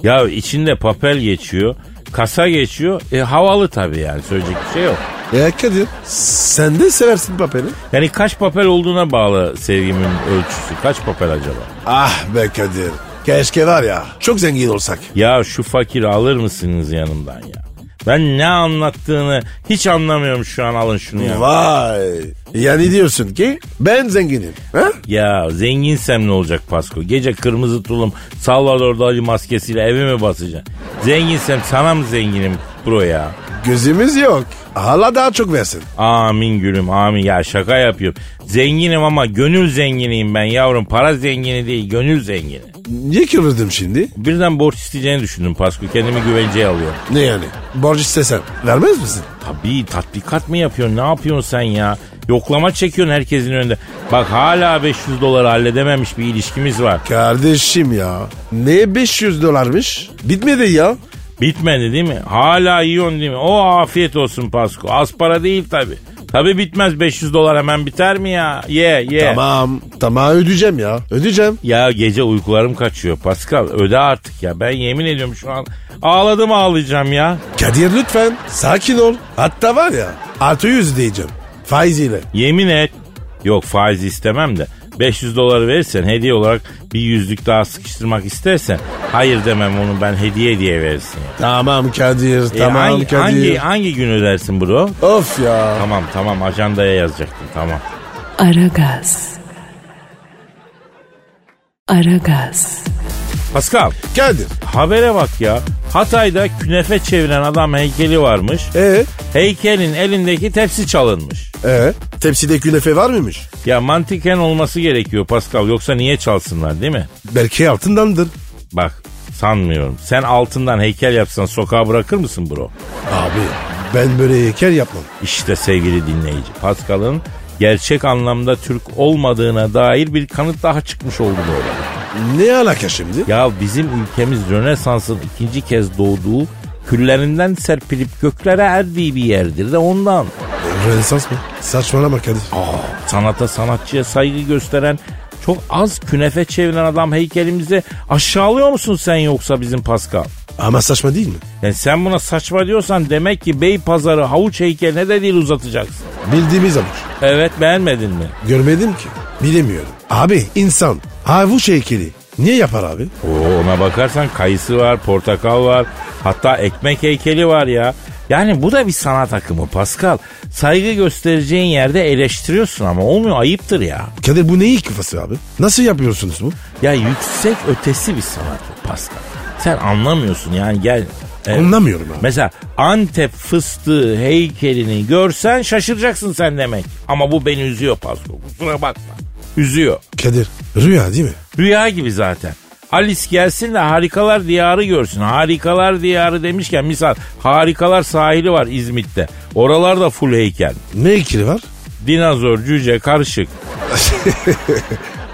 [SPEAKER 2] Ya içinde papel geçiyor, kasa geçiyor. E havalı tabii yani söyleyecek bir şey yok.
[SPEAKER 3] E Kadir. Sen de seversin papeli.
[SPEAKER 2] Yani kaç papel olduğuna bağlı sevgimin ölçüsü. Kaç papel acaba?
[SPEAKER 3] Ah be Kadir. Keşke var ya. Çok zengin olsak.
[SPEAKER 2] Ya şu fakiri alır mısınız yanımdan ya? Ben ne anlattığını hiç anlamıyorum şu an alın şunu ya.
[SPEAKER 3] Vay. Yani diyorsun ki ben zenginim. Ha?
[SPEAKER 2] Ya zenginsem ne olacak Pasko? Gece kırmızı tulum Salvador Dali maskesiyle eve mi basacaksın? Zenginsem sana mı zenginim bro ya?
[SPEAKER 3] Gözümüz yok. Allah daha çok versin.
[SPEAKER 2] Amin gülüm amin ya şaka yapıyorum. Zenginim ama gönül zenginiyim ben yavrum. Para zengini değil gönül zengini.
[SPEAKER 3] Niye kıvırdım şimdi?
[SPEAKER 2] Birden borç isteyeceğini düşündüm Pasko. Kendimi güvenceye alıyorum.
[SPEAKER 3] Ne yani? Borç istesen vermez misin?
[SPEAKER 2] Tabii tatbikat mı yapıyorsun? Ne yapıyorsun sen ya? Yoklama çekiyorsun herkesin önünde. Bak hala 500 doları halledememiş bir ilişkimiz var.
[SPEAKER 3] Kardeşim ya. Ne 500 dolarmış? Bitmedi ya.
[SPEAKER 2] Bitmedi değil mi? Hala yiyorsun değil mi? O afiyet olsun Pasko. Az para değil tabi. Tabi bitmez 500 dolar hemen biter mi ya? Ye ye.
[SPEAKER 3] Tamam. Tamam ödeyeceğim ya. Ödeyeceğim.
[SPEAKER 2] Ya gece uykularım kaçıyor Pascal. Öde artık ya. Ben yemin ediyorum şu an ağladım ağlayacağım ya.
[SPEAKER 3] Kadir lütfen. Sakin ol. Hatta var ya 600 diyeceğim. Faiziyle.
[SPEAKER 2] Yemin et. Yok faiz istemem de. 500 doları verirsen hediye olarak bir yüzlük daha sıkıştırmak istersen hayır demem onu ben hediye diye verirsin. ya.
[SPEAKER 3] Tamam Kadir.
[SPEAKER 2] E,
[SPEAKER 3] tamam
[SPEAKER 2] hangi,
[SPEAKER 3] Kadir.
[SPEAKER 2] hangi, hangi gün ödersin bro?
[SPEAKER 3] Of ya.
[SPEAKER 2] Tamam tamam ajandaya yazacaktım tamam.
[SPEAKER 1] Aragaz. Aragaz.
[SPEAKER 2] Pascal
[SPEAKER 3] Kadir.
[SPEAKER 2] habere bak ya. Hatay'da künefe çeviren adam heykeli varmış.
[SPEAKER 3] E
[SPEAKER 2] Heykelin elindeki tepsi çalınmış.
[SPEAKER 3] e tepside künefe var mıymış?
[SPEAKER 2] Ya mantıken olması gerekiyor Pascal yoksa niye çalsınlar değil mi?
[SPEAKER 3] Belki altındandır.
[SPEAKER 2] Bak sanmıyorum. Sen altından heykel yapsan sokağa bırakır mısın bro?
[SPEAKER 3] Abi ben böyle heykel yapmam.
[SPEAKER 2] İşte sevgili dinleyici Pascal'ın gerçek anlamda Türk olmadığına dair bir kanıt daha çıkmış oldu böyle.
[SPEAKER 3] Ne alaka şimdi?
[SPEAKER 2] Ya bizim ülkemiz Rönesans'ın ikinci kez doğduğu küllerinden serpilip göklere erdiği bir yerdir de ondan.
[SPEAKER 3] Rönesans mı? Saçmalama Kadir.
[SPEAKER 2] Sanata sanatçıya saygı gösteren çok az künefe çeviren adam heykelimizi aşağılıyor musun sen yoksa bizim Pascal?
[SPEAKER 3] Ama saçma değil mi?
[SPEAKER 2] Yani sen buna saçma diyorsan demek ki bey pazarı havuç heykeline de dil uzatacaksın.
[SPEAKER 3] Bildiğimiz olur.
[SPEAKER 2] Evet beğenmedin mi?
[SPEAKER 3] Görmedim ki. Bilemiyorum. Abi insan Havuç heykeli. Niye yapar abi?
[SPEAKER 2] Oo, ona bakarsan kayısı var, portakal var. Hatta ekmek heykeli var ya. Yani bu da bir sanat akımı Pascal. Saygı göstereceğin yerde eleştiriyorsun ama olmuyor ayıptır ya.
[SPEAKER 3] Kadir bu neyi kafası abi? Nasıl yapıyorsunuz bu?
[SPEAKER 2] Ya yüksek ötesi bir sanat bu Pascal. Sen anlamıyorsun yani gel. e,
[SPEAKER 3] Anlamıyorum abi.
[SPEAKER 2] Mesela Antep fıstığı heykelini görsen şaşıracaksın sen demek. Ama bu beni üzüyor Pascal. Kusura bakma. Üzüyor.
[SPEAKER 3] Kadir rüya değil mi?
[SPEAKER 2] Rüya gibi zaten. Alice gelsin de harikalar diyarı görsün. Harikalar diyarı demişken misal harikalar sahili var İzmit'te. Oralarda full heykel.
[SPEAKER 3] Ne heykeli var?
[SPEAKER 2] Dinozor, cüce, karışık.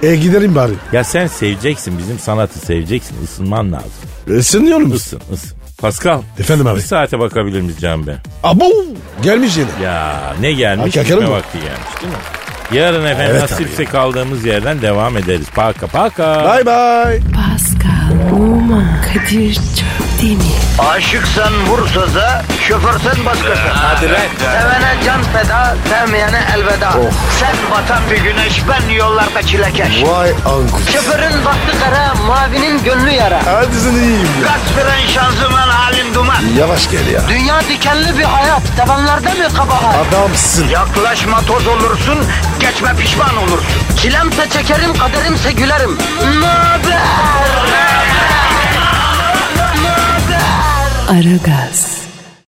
[SPEAKER 3] E gidelim bari.
[SPEAKER 2] Ya sen seveceksin bizim sanatı seveceksin. Isınman lazım.
[SPEAKER 3] E, Isınıyorum biz.
[SPEAKER 2] Isın, ısın. Pascal.
[SPEAKER 3] Efendim abi?
[SPEAKER 2] Bir saate bakabilir miyiz Can Bey?
[SPEAKER 3] Abo gelmiş yine.
[SPEAKER 2] Ya ne gelmiş?
[SPEAKER 3] Hakikaten
[SPEAKER 2] gitme
[SPEAKER 3] mi?
[SPEAKER 2] vakti gelmiş değil mi? Yarın efendim
[SPEAKER 3] Evet
[SPEAKER 2] nasipse kaldığımız yerden devam ederiz. Paka paka.
[SPEAKER 3] Bye bye.
[SPEAKER 1] Pascal, Oman, Kadir çok değil mi?
[SPEAKER 5] Aşıksan vursa da, şoförsen başkasın. Hadi
[SPEAKER 2] lan.
[SPEAKER 5] Sevene can feda, sevmeyene elveda.
[SPEAKER 3] Oh.
[SPEAKER 5] Sen batan bir güneş, ben yollarda çilekeş.
[SPEAKER 3] Vay anku.
[SPEAKER 5] Şoförün baktı kara, mavinin gönlü yara.
[SPEAKER 3] Hadi sen iyiyim ya.
[SPEAKER 5] Kasperen şanzıman halin duman.
[SPEAKER 3] Yavaş gel ya.
[SPEAKER 5] Dünya dikenli bir hayat, sevenlerde mi kabahar?
[SPEAKER 3] Adamsın.
[SPEAKER 5] Yaklaşma toz olursun, geçme pişman olursun. Çilemse çekerim, kaderimse gülerim. Möber!
[SPEAKER 1] Aragaz.